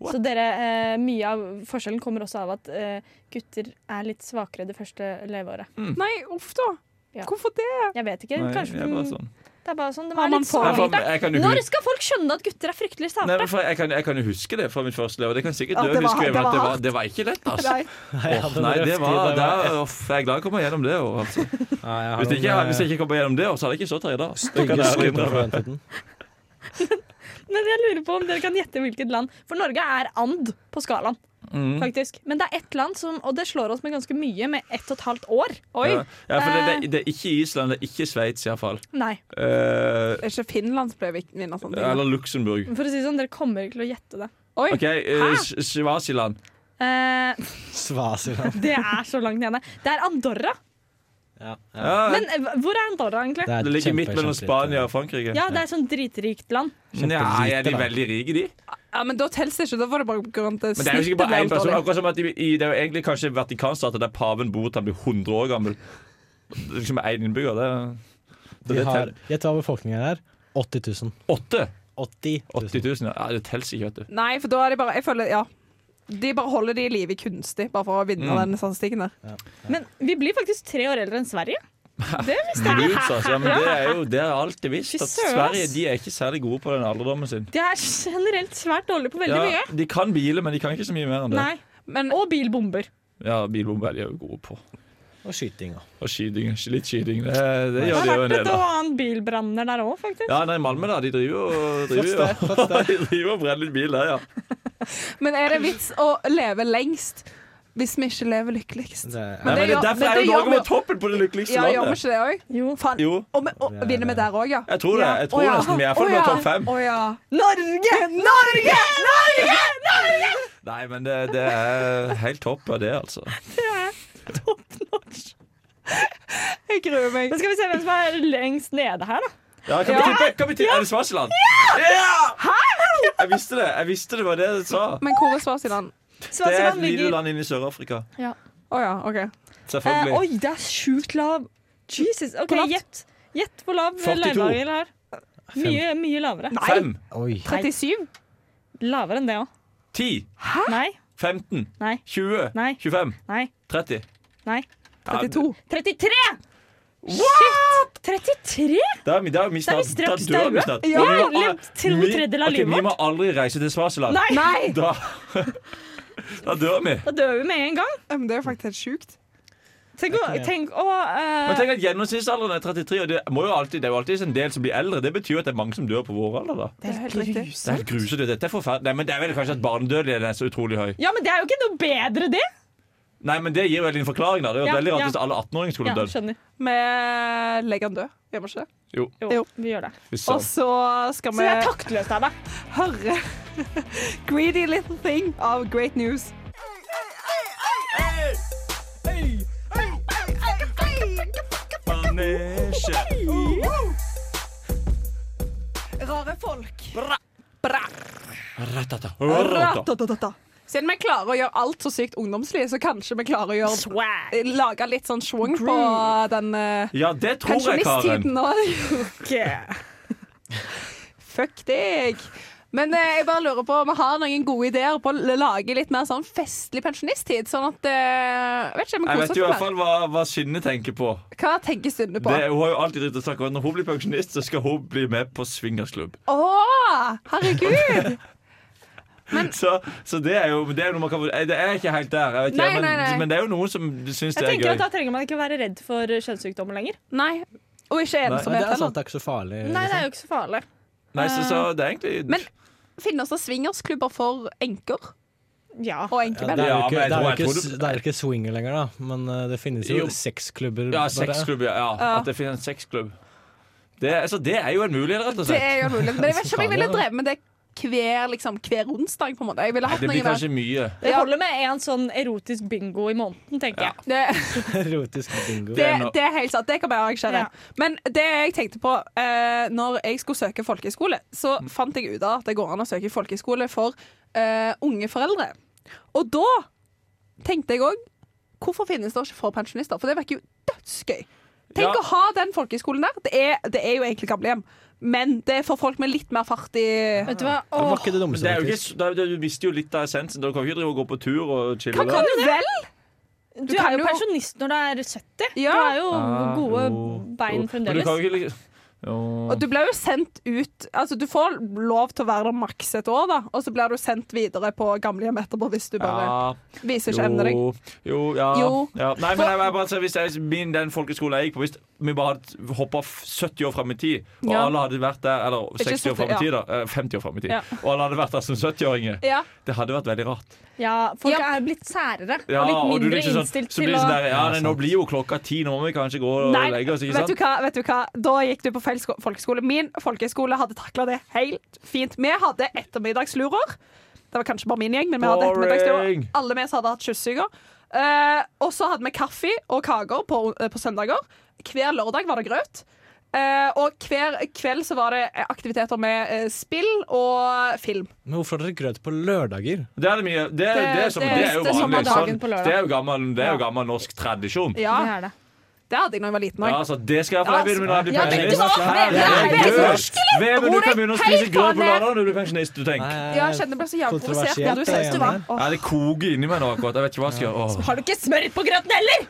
[SPEAKER 3] What?
[SPEAKER 5] Så dere, eh, mye av forskjellen kommer også av at eh, gutter er litt svakere det første leveåret.
[SPEAKER 7] Nei, uff da.
[SPEAKER 5] Ja.
[SPEAKER 7] Hvorfor det?
[SPEAKER 5] Jeg vet ikke.
[SPEAKER 3] Nei,
[SPEAKER 5] Kanskje
[SPEAKER 3] jeg er bare
[SPEAKER 5] de-
[SPEAKER 3] sånn.
[SPEAKER 5] det er bare sånn. De
[SPEAKER 7] Har
[SPEAKER 5] er
[SPEAKER 7] man
[SPEAKER 5] litt
[SPEAKER 7] fått-
[SPEAKER 3] Nei, for
[SPEAKER 5] svakere.
[SPEAKER 3] jeg kan jo
[SPEAKER 5] Når
[SPEAKER 3] hu-
[SPEAKER 5] skal folk skjønne at gutter er fryktelig
[SPEAKER 3] Nei, men
[SPEAKER 5] sate?
[SPEAKER 3] for jeg, kan, jeg kan jo huske det fra mitt første lever. Det kan sikkert
[SPEAKER 7] At
[SPEAKER 3] dere
[SPEAKER 7] det var-
[SPEAKER 3] huske,
[SPEAKER 7] det
[SPEAKER 3] men
[SPEAKER 7] var
[SPEAKER 3] at det var,
[SPEAKER 7] hardt.
[SPEAKER 3] det var ikke lett, altså.
[SPEAKER 7] Nei.
[SPEAKER 9] Nei,
[SPEAKER 3] Åh, nei, det var, det er- uff, jeg er glad jeg kom meg gjennom det. Og, altså. hvis, jeg ikke,
[SPEAKER 9] eh,
[SPEAKER 3] hvis jeg ikke kom meg gjennom det, så hadde jeg ikke stått her i dag. Det kan jeg ærlig innrømme.
[SPEAKER 5] Men jeg lurer på om dere kan gjette hvilket land. For Norge er and på skalaen,
[SPEAKER 3] Mm.
[SPEAKER 5] faktisk. Men det er ett land som Og det slår oss med ganske mye, med ett og et halvt år.
[SPEAKER 3] Ja, ja, for det, det, det er ikke Island, det er ikke Sveits iallfall.
[SPEAKER 5] Nei.
[SPEAKER 3] Uh,
[SPEAKER 7] Er ikke Finland som pleier å vinne sånne ting?
[SPEAKER 3] eller Luxembourg.
[SPEAKER 5] For å si det sånn, dere kommer ikke til å gjette det.
[SPEAKER 7] Oi.
[SPEAKER 3] OK, eh, S- Svasiland.
[SPEAKER 5] Eh,
[SPEAKER 9] Svasiland.
[SPEAKER 5] det er så langt nede. Det er Andorra.
[SPEAKER 9] Ja, ja.
[SPEAKER 3] Ja,
[SPEAKER 5] Men eh, hvor er Andorra, egentlig?
[SPEAKER 9] er
[SPEAKER 3] det ligger
[SPEAKER 9] kjempe,
[SPEAKER 3] midt mellom
[SPEAKER 9] kjempe-
[SPEAKER 3] Spania og Frankrike.
[SPEAKER 5] Ja, det er sånn dritrikt land.
[SPEAKER 3] Nei, er de
[SPEAKER 9] kjempelite, da.
[SPEAKER 3] veldig rike, de?
[SPEAKER 7] Ja, men da telles det ikke. Da var det bare grunn til
[SPEAKER 3] Men det er jo sikkert bare én
[SPEAKER 7] ble
[SPEAKER 3] person.
[SPEAKER 7] dårlig.
[SPEAKER 3] Akkurat som at i, i, Det er jo egentlig kanskje Vatikanstaten der paven bor til han blir 100 år gammel. Det er Liksom én innbygger. Det er, det,
[SPEAKER 9] De
[SPEAKER 3] det
[SPEAKER 9] har,
[SPEAKER 3] tel-
[SPEAKER 9] gjett hva befolkningen er. 80 000.
[SPEAKER 3] åtte?
[SPEAKER 9] 80
[SPEAKER 3] 80 000? Ja, det teller ikke, vet du.
[SPEAKER 7] Nei, for da er de bare Jeg føler Ja. De bare holder de i live kunstig, bare for å vinne
[SPEAKER 3] Mm.
[SPEAKER 7] den statistikken der.
[SPEAKER 5] Men vi blir faktisk tre år eldre enn Sverige.
[SPEAKER 3] Blues, altså. Ja, men det er jo det er alltid visst.
[SPEAKER 5] Fy
[SPEAKER 3] At
[SPEAKER 5] søren,
[SPEAKER 3] Sverige
[SPEAKER 5] ass.
[SPEAKER 3] de er ikke særlig gode på den alderdommen sin.
[SPEAKER 5] De er generelt svært dårlige på veldig
[SPEAKER 3] Ja,
[SPEAKER 5] mye.
[SPEAKER 3] de kan bile, men de kan ikke så mye mer enn det.
[SPEAKER 5] Nei.
[SPEAKER 7] Men
[SPEAKER 5] Og bilbomber.
[SPEAKER 3] Ja, Bilbomber er de jo gode på.
[SPEAKER 9] Og skyting. da.
[SPEAKER 3] Og skyting. Litt skyting. Det, det
[SPEAKER 5] Det
[SPEAKER 3] gjør
[SPEAKER 5] har
[SPEAKER 3] de jo
[SPEAKER 5] vært
[SPEAKER 3] en
[SPEAKER 5] et
[SPEAKER 3] del
[SPEAKER 5] og
[SPEAKER 3] av.
[SPEAKER 5] annet bilbranner der òg, faktisk.
[SPEAKER 3] Ja, nei, Malmö, da. De driver jo driver, jo-
[SPEAKER 9] Trots det, trots det.
[SPEAKER 3] de driver og brenner litt bil der, ja.
[SPEAKER 7] Men er det vits å leve lengst Hvis vi ikke lever lykkeligst.
[SPEAKER 9] Det,
[SPEAKER 3] Nei,
[SPEAKER 9] er-
[SPEAKER 3] men det,
[SPEAKER 7] gjør-
[SPEAKER 3] er derfor
[SPEAKER 7] men
[SPEAKER 3] er
[SPEAKER 7] det
[SPEAKER 3] jo
[SPEAKER 7] gjør
[SPEAKER 3] Norge
[SPEAKER 7] vi-
[SPEAKER 3] på toppen på det lykkeligste
[SPEAKER 7] Ja, gjør vi
[SPEAKER 3] landet.
[SPEAKER 7] ikke det òg?
[SPEAKER 5] Jo.
[SPEAKER 7] Faen.
[SPEAKER 3] Jo,
[SPEAKER 7] Og, vi- og, vinner vi der òg, ja?
[SPEAKER 3] jeg tror det. Jeg tror
[SPEAKER 7] Å, ja.
[SPEAKER 3] nesten vi er for
[SPEAKER 7] Å,
[SPEAKER 3] med
[SPEAKER 7] ja.
[SPEAKER 3] topp fem.
[SPEAKER 7] Å, ja. Norge! Norge! Norge!
[SPEAKER 3] Nei, men det, det er helt topp av det, altså.
[SPEAKER 7] Jeg gruer meg.
[SPEAKER 5] Men skal vi se hvem som er lengst nede her, da.
[SPEAKER 3] Ja, kan vi tippe? Kan vi tippe? Er det Svasiland? Ja! Jeg visste det. Jeg visste det var det du sa.
[SPEAKER 7] Men altså, hvor er Svasiland?
[SPEAKER 3] Det er et
[SPEAKER 5] Swaziland
[SPEAKER 3] lite
[SPEAKER 5] altså, ligger
[SPEAKER 3] land inne i Sør-Afrika.
[SPEAKER 7] Å ja, OK.
[SPEAKER 5] eh,
[SPEAKER 3] Selvfølgelig.
[SPEAKER 5] Oi, det er sjukt lav. Jesus. OK,
[SPEAKER 7] lavt?
[SPEAKER 5] gjett. Gjett hvor lav
[SPEAKER 3] 42.
[SPEAKER 5] leirdagen er. Mye, mye lavere.
[SPEAKER 3] Fem,
[SPEAKER 9] oi.
[SPEAKER 7] 37?
[SPEAKER 5] Lavere enn det òg.
[SPEAKER 3] ti,
[SPEAKER 5] Nei.
[SPEAKER 3] 15,
[SPEAKER 5] Nei.
[SPEAKER 3] 20,
[SPEAKER 5] Nei.
[SPEAKER 3] 25,
[SPEAKER 5] Nei.
[SPEAKER 3] 30.
[SPEAKER 5] Nei.
[SPEAKER 3] Ja,
[SPEAKER 7] 32?
[SPEAKER 5] 33! Shit! 33?
[SPEAKER 3] Da er vi, da er vi
[SPEAKER 5] Da er
[SPEAKER 3] snart
[SPEAKER 5] vi straks
[SPEAKER 3] da dør vi
[SPEAKER 5] daue.
[SPEAKER 3] snart.
[SPEAKER 5] Vi har levd to
[SPEAKER 3] Vi-
[SPEAKER 5] tredjedeler av
[SPEAKER 3] ok,
[SPEAKER 5] livet
[SPEAKER 3] Vi må
[SPEAKER 5] vårt.
[SPEAKER 3] aldri reise til Svasiland.
[SPEAKER 5] Nei!
[SPEAKER 3] Da, da dør vi.
[SPEAKER 5] Da dør vi med en gang.
[SPEAKER 7] Ja, Men det er jo faktisk helt sjukt.
[SPEAKER 5] Tenk å, tenk å
[SPEAKER 3] Men
[SPEAKER 5] eh,
[SPEAKER 3] tenk at Gjennomsnittsalderen er 33, og det, må jo alltid, det er jo alltid en del som blir eldre. Det betyr jo at det er mange som dør på vår alder. da
[SPEAKER 7] Det er helt riktig.
[SPEAKER 3] Det er helt grusomt. Dette er forferdelig. Nei, men det er vel kanskje at barnedødeligheten er så utrolig høy.
[SPEAKER 5] Ja, men det er jo ikke noe bedre, det.
[SPEAKER 3] Nei, men Det gir vel en forklaring. da Det er jo
[SPEAKER 5] Ja,
[SPEAKER 3] veldig rart
[SPEAKER 5] ja.
[SPEAKER 3] hvis alle 18-åringer skulle
[SPEAKER 5] Ja,
[SPEAKER 3] dødd.
[SPEAKER 5] skjønner.
[SPEAKER 7] Vi legger han død, gjør vi ikke det?
[SPEAKER 5] Jo,
[SPEAKER 7] Jo.
[SPEAKER 5] vi gjør det.
[SPEAKER 3] Hvis
[SPEAKER 7] Og
[SPEAKER 3] så-
[SPEAKER 7] så skal
[SPEAKER 5] Så
[SPEAKER 7] vi
[SPEAKER 5] det er taktløst av deg.
[SPEAKER 7] høre Greedy Little Thing av Great News.
[SPEAKER 3] Manesje.
[SPEAKER 7] Rare folk.
[SPEAKER 3] Ratata. Ratata.
[SPEAKER 7] Ratatata. Siden vi klarer å gjøre alt så sykt ungdomslig, så kanskje vi klarer å gjøre
[SPEAKER 5] Swag.
[SPEAKER 7] Lage litt sånn schwung på den eh,
[SPEAKER 3] Ja, det tror jeg, Karen.
[SPEAKER 7] pensjonisttiden nå. Fuck deg. Men eh, jeg bare lurer på om vi har noen gode ideer på å l- lage litt mer sånn festlig pensjonisttid. Sånn at eh, Vet
[SPEAKER 3] Jeg
[SPEAKER 7] ikke, vi koser
[SPEAKER 3] vet
[SPEAKER 7] oss
[SPEAKER 3] jo i hvert
[SPEAKER 7] mer.
[SPEAKER 3] fall hva, hva Skinne tenker på.
[SPEAKER 7] Hva tenker Synne på?
[SPEAKER 3] Det, hun har jo alltid dritt å snakke om at Når hun blir pensjonist, så skal hun bli med på swingersklubb.
[SPEAKER 7] Å, herregud!
[SPEAKER 3] Så, så det er jo det er jo noe man kan Jeg det er ikke helt der, jeg vet ikke,
[SPEAKER 7] Nei,
[SPEAKER 3] men,
[SPEAKER 7] nei, nei.
[SPEAKER 3] men det er jo noen som syns
[SPEAKER 5] Jeg
[SPEAKER 3] det er
[SPEAKER 5] tenker at
[SPEAKER 3] gøy.
[SPEAKER 5] Da trenger man ikke være redd for kjønnssykdommer lenger.
[SPEAKER 7] Nei. Og ikke
[SPEAKER 9] Men
[SPEAKER 7] ensomhet
[SPEAKER 9] det er sant,
[SPEAKER 7] heller.
[SPEAKER 9] det er ikke så farlig.
[SPEAKER 5] Nei, det
[SPEAKER 9] liksom.
[SPEAKER 5] er jo ikke så farlig.
[SPEAKER 3] Nei, så, så det er egentlig
[SPEAKER 7] Men- Finnes det swingersklubber for enker
[SPEAKER 5] Ja.
[SPEAKER 7] og
[SPEAKER 9] Ja, det
[SPEAKER 7] enkemenn?
[SPEAKER 9] er jo
[SPEAKER 3] Ja,
[SPEAKER 9] ikke,
[SPEAKER 3] men jeg
[SPEAKER 9] det er jo
[SPEAKER 3] tror- jeg
[SPEAKER 9] ikke,
[SPEAKER 3] tror du-
[SPEAKER 9] s- det er jo ikke swinger lenger, da. Men eh, det finnes jo,
[SPEAKER 3] Jo. Ja,
[SPEAKER 9] sexklubber. bare.
[SPEAKER 3] sexklubb, ja. ja.
[SPEAKER 7] Ja.
[SPEAKER 3] At det finnes en sexklubb. Det, altså, det er jo en mulighet, rett og
[SPEAKER 7] Det
[SPEAKER 3] slett.
[SPEAKER 7] er jo mulig. Men jeg vet ikke om jeg ville drevet med det hver, liksom, hver onsdag. på en måte. Jeg ville
[SPEAKER 3] Nei,
[SPEAKER 7] hatt
[SPEAKER 3] det
[SPEAKER 7] noe
[SPEAKER 3] blir
[SPEAKER 7] mer.
[SPEAKER 3] kanskje mye.
[SPEAKER 5] Det holder med en sånn erotisk bingo i måneden, tenker jeg.
[SPEAKER 7] Det,
[SPEAKER 9] Erotisk bingo.
[SPEAKER 7] det,
[SPEAKER 3] er noe-
[SPEAKER 7] det er helt sant. Det kan vi arrangere.
[SPEAKER 5] Ja.
[SPEAKER 7] Men det jeg tenkte på eh, Når jeg skulle søke folkehøyskole, så fant jeg ut av at det går an å søke folkehøyskole for eh, unge foreldre. Og da tenkte jeg òg Hvorfor finnes det ikke for pensjonister? For det virker jo dødsgøy. Tenk
[SPEAKER 3] Ja.
[SPEAKER 7] å ha den folkehøyskolen der. Det er, det er jo egentlig gamlehjem, men det er for folk med litt mer fart i
[SPEAKER 5] Vet du hva?
[SPEAKER 9] Det var
[SPEAKER 5] Åh,
[SPEAKER 9] ikke det dummeste,
[SPEAKER 3] Det er jo ikke, s-
[SPEAKER 9] faktisk.
[SPEAKER 3] da, da, du mister jo litt av essensen. Du kan ikke drive og gå på tur og chille.
[SPEAKER 7] Kan,
[SPEAKER 3] der.
[SPEAKER 7] kan du vel?
[SPEAKER 5] du,
[SPEAKER 7] kan
[SPEAKER 5] er jo
[SPEAKER 7] jo-
[SPEAKER 5] pensjonist når du er 70.
[SPEAKER 7] Ja.
[SPEAKER 5] Du er jo
[SPEAKER 3] Ah,
[SPEAKER 5] gode
[SPEAKER 3] jo, jo.
[SPEAKER 5] bein
[SPEAKER 3] Men du
[SPEAKER 5] fremdeles.
[SPEAKER 3] kan jo ikke liksom- Jo.
[SPEAKER 7] Og du blir jo sendt ut Altså, du får lov til å være der maks et år, da, og så blir du sendt videre på gamlehjem etterpå hvis du bare
[SPEAKER 3] Ja,
[SPEAKER 7] viser ikke evne deg.
[SPEAKER 3] jo, jo, ja,
[SPEAKER 7] Jo.
[SPEAKER 3] ja. Nei, men jeg, jeg bare, sier, hvis jeg, min, den folkeskolen jeg gikk på Hvis vi bare hadde hoppa 70 år fram i tid, og
[SPEAKER 7] Ja.
[SPEAKER 3] alle hadde vært der Eller 60 år
[SPEAKER 7] 70,
[SPEAKER 3] fram i
[SPEAKER 7] ja.
[SPEAKER 3] tid, da. eh, 50 år fram i tid.
[SPEAKER 7] Ja.
[SPEAKER 3] Og alle hadde vært der som 70-åringer.
[SPEAKER 7] Ja.
[SPEAKER 3] Det hadde vært veldig rart.
[SPEAKER 5] Ja, folk
[SPEAKER 7] Ja.
[SPEAKER 5] er blitt særere
[SPEAKER 3] Ja,
[SPEAKER 5] og litt
[SPEAKER 3] og du
[SPEAKER 5] mindre
[SPEAKER 3] liksom sånn-
[SPEAKER 5] innstilt
[SPEAKER 3] så
[SPEAKER 5] til
[SPEAKER 3] blir det
[SPEAKER 5] å
[SPEAKER 3] sånn der, Ja, nei, nå blir jo klokka ti, nå må vi kanskje gå og
[SPEAKER 7] Nei,
[SPEAKER 3] legge oss, ikke sant?
[SPEAKER 7] vet du, hva, vet du hva? Da gikk du på feil sko- folkeskole. Min folkeskole hadde takla det helt fint. Vi hadde ettermiddagslurer. Det var kanskje bare min gjeng, men vi hadde ettermiddagslurer.
[SPEAKER 3] Boring.
[SPEAKER 7] Alle vi som hadde hatt kyssuger. Eh, og så hadde vi kaffe og kaker på, eh, på søndager. Hver lørdag var det grøt. Eh, og hver kveld så var det eh, aktiviteter med eh, spill og film.
[SPEAKER 9] Men hvorfor har dere grøt på lørdager?
[SPEAKER 3] Det er det mye. Det, det, er, som,
[SPEAKER 7] det
[SPEAKER 3] det,
[SPEAKER 7] er
[SPEAKER 3] er jo
[SPEAKER 7] det som
[SPEAKER 3] vanlig.
[SPEAKER 7] er dagen
[SPEAKER 3] Sånn,
[SPEAKER 5] på lørdag.
[SPEAKER 3] det er jo gammel, det er jo gammel norsk tradisjon.
[SPEAKER 7] Ja,
[SPEAKER 5] Det er det.
[SPEAKER 7] det hadde jeg da jeg var liten
[SPEAKER 3] Ja,
[SPEAKER 7] òg.
[SPEAKER 3] altså, det skal jeg få leve med når jeg blir
[SPEAKER 7] Ja, men du
[SPEAKER 3] pensjonist.
[SPEAKER 7] må-
[SPEAKER 3] Herregud! Vemund, du kan begynne å spise
[SPEAKER 7] Helt
[SPEAKER 3] grøt på
[SPEAKER 7] vanlig.
[SPEAKER 3] lørdag når du blir pensjonist. du tenker.
[SPEAKER 7] Ja, jeg kjenner meg så jævlig provosert når du sier
[SPEAKER 9] Kontroversielt,
[SPEAKER 7] det.
[SPEAKER 9] da,
[SPEAKER 7] var. Åh.
[SPEAKER 3] Ja, det koker inni meg nå akkurat. Jeg vet ikke hva jeg skal gjøre. Åh.
[SPEAKER 5] Har du ikke smør på grøten heller?!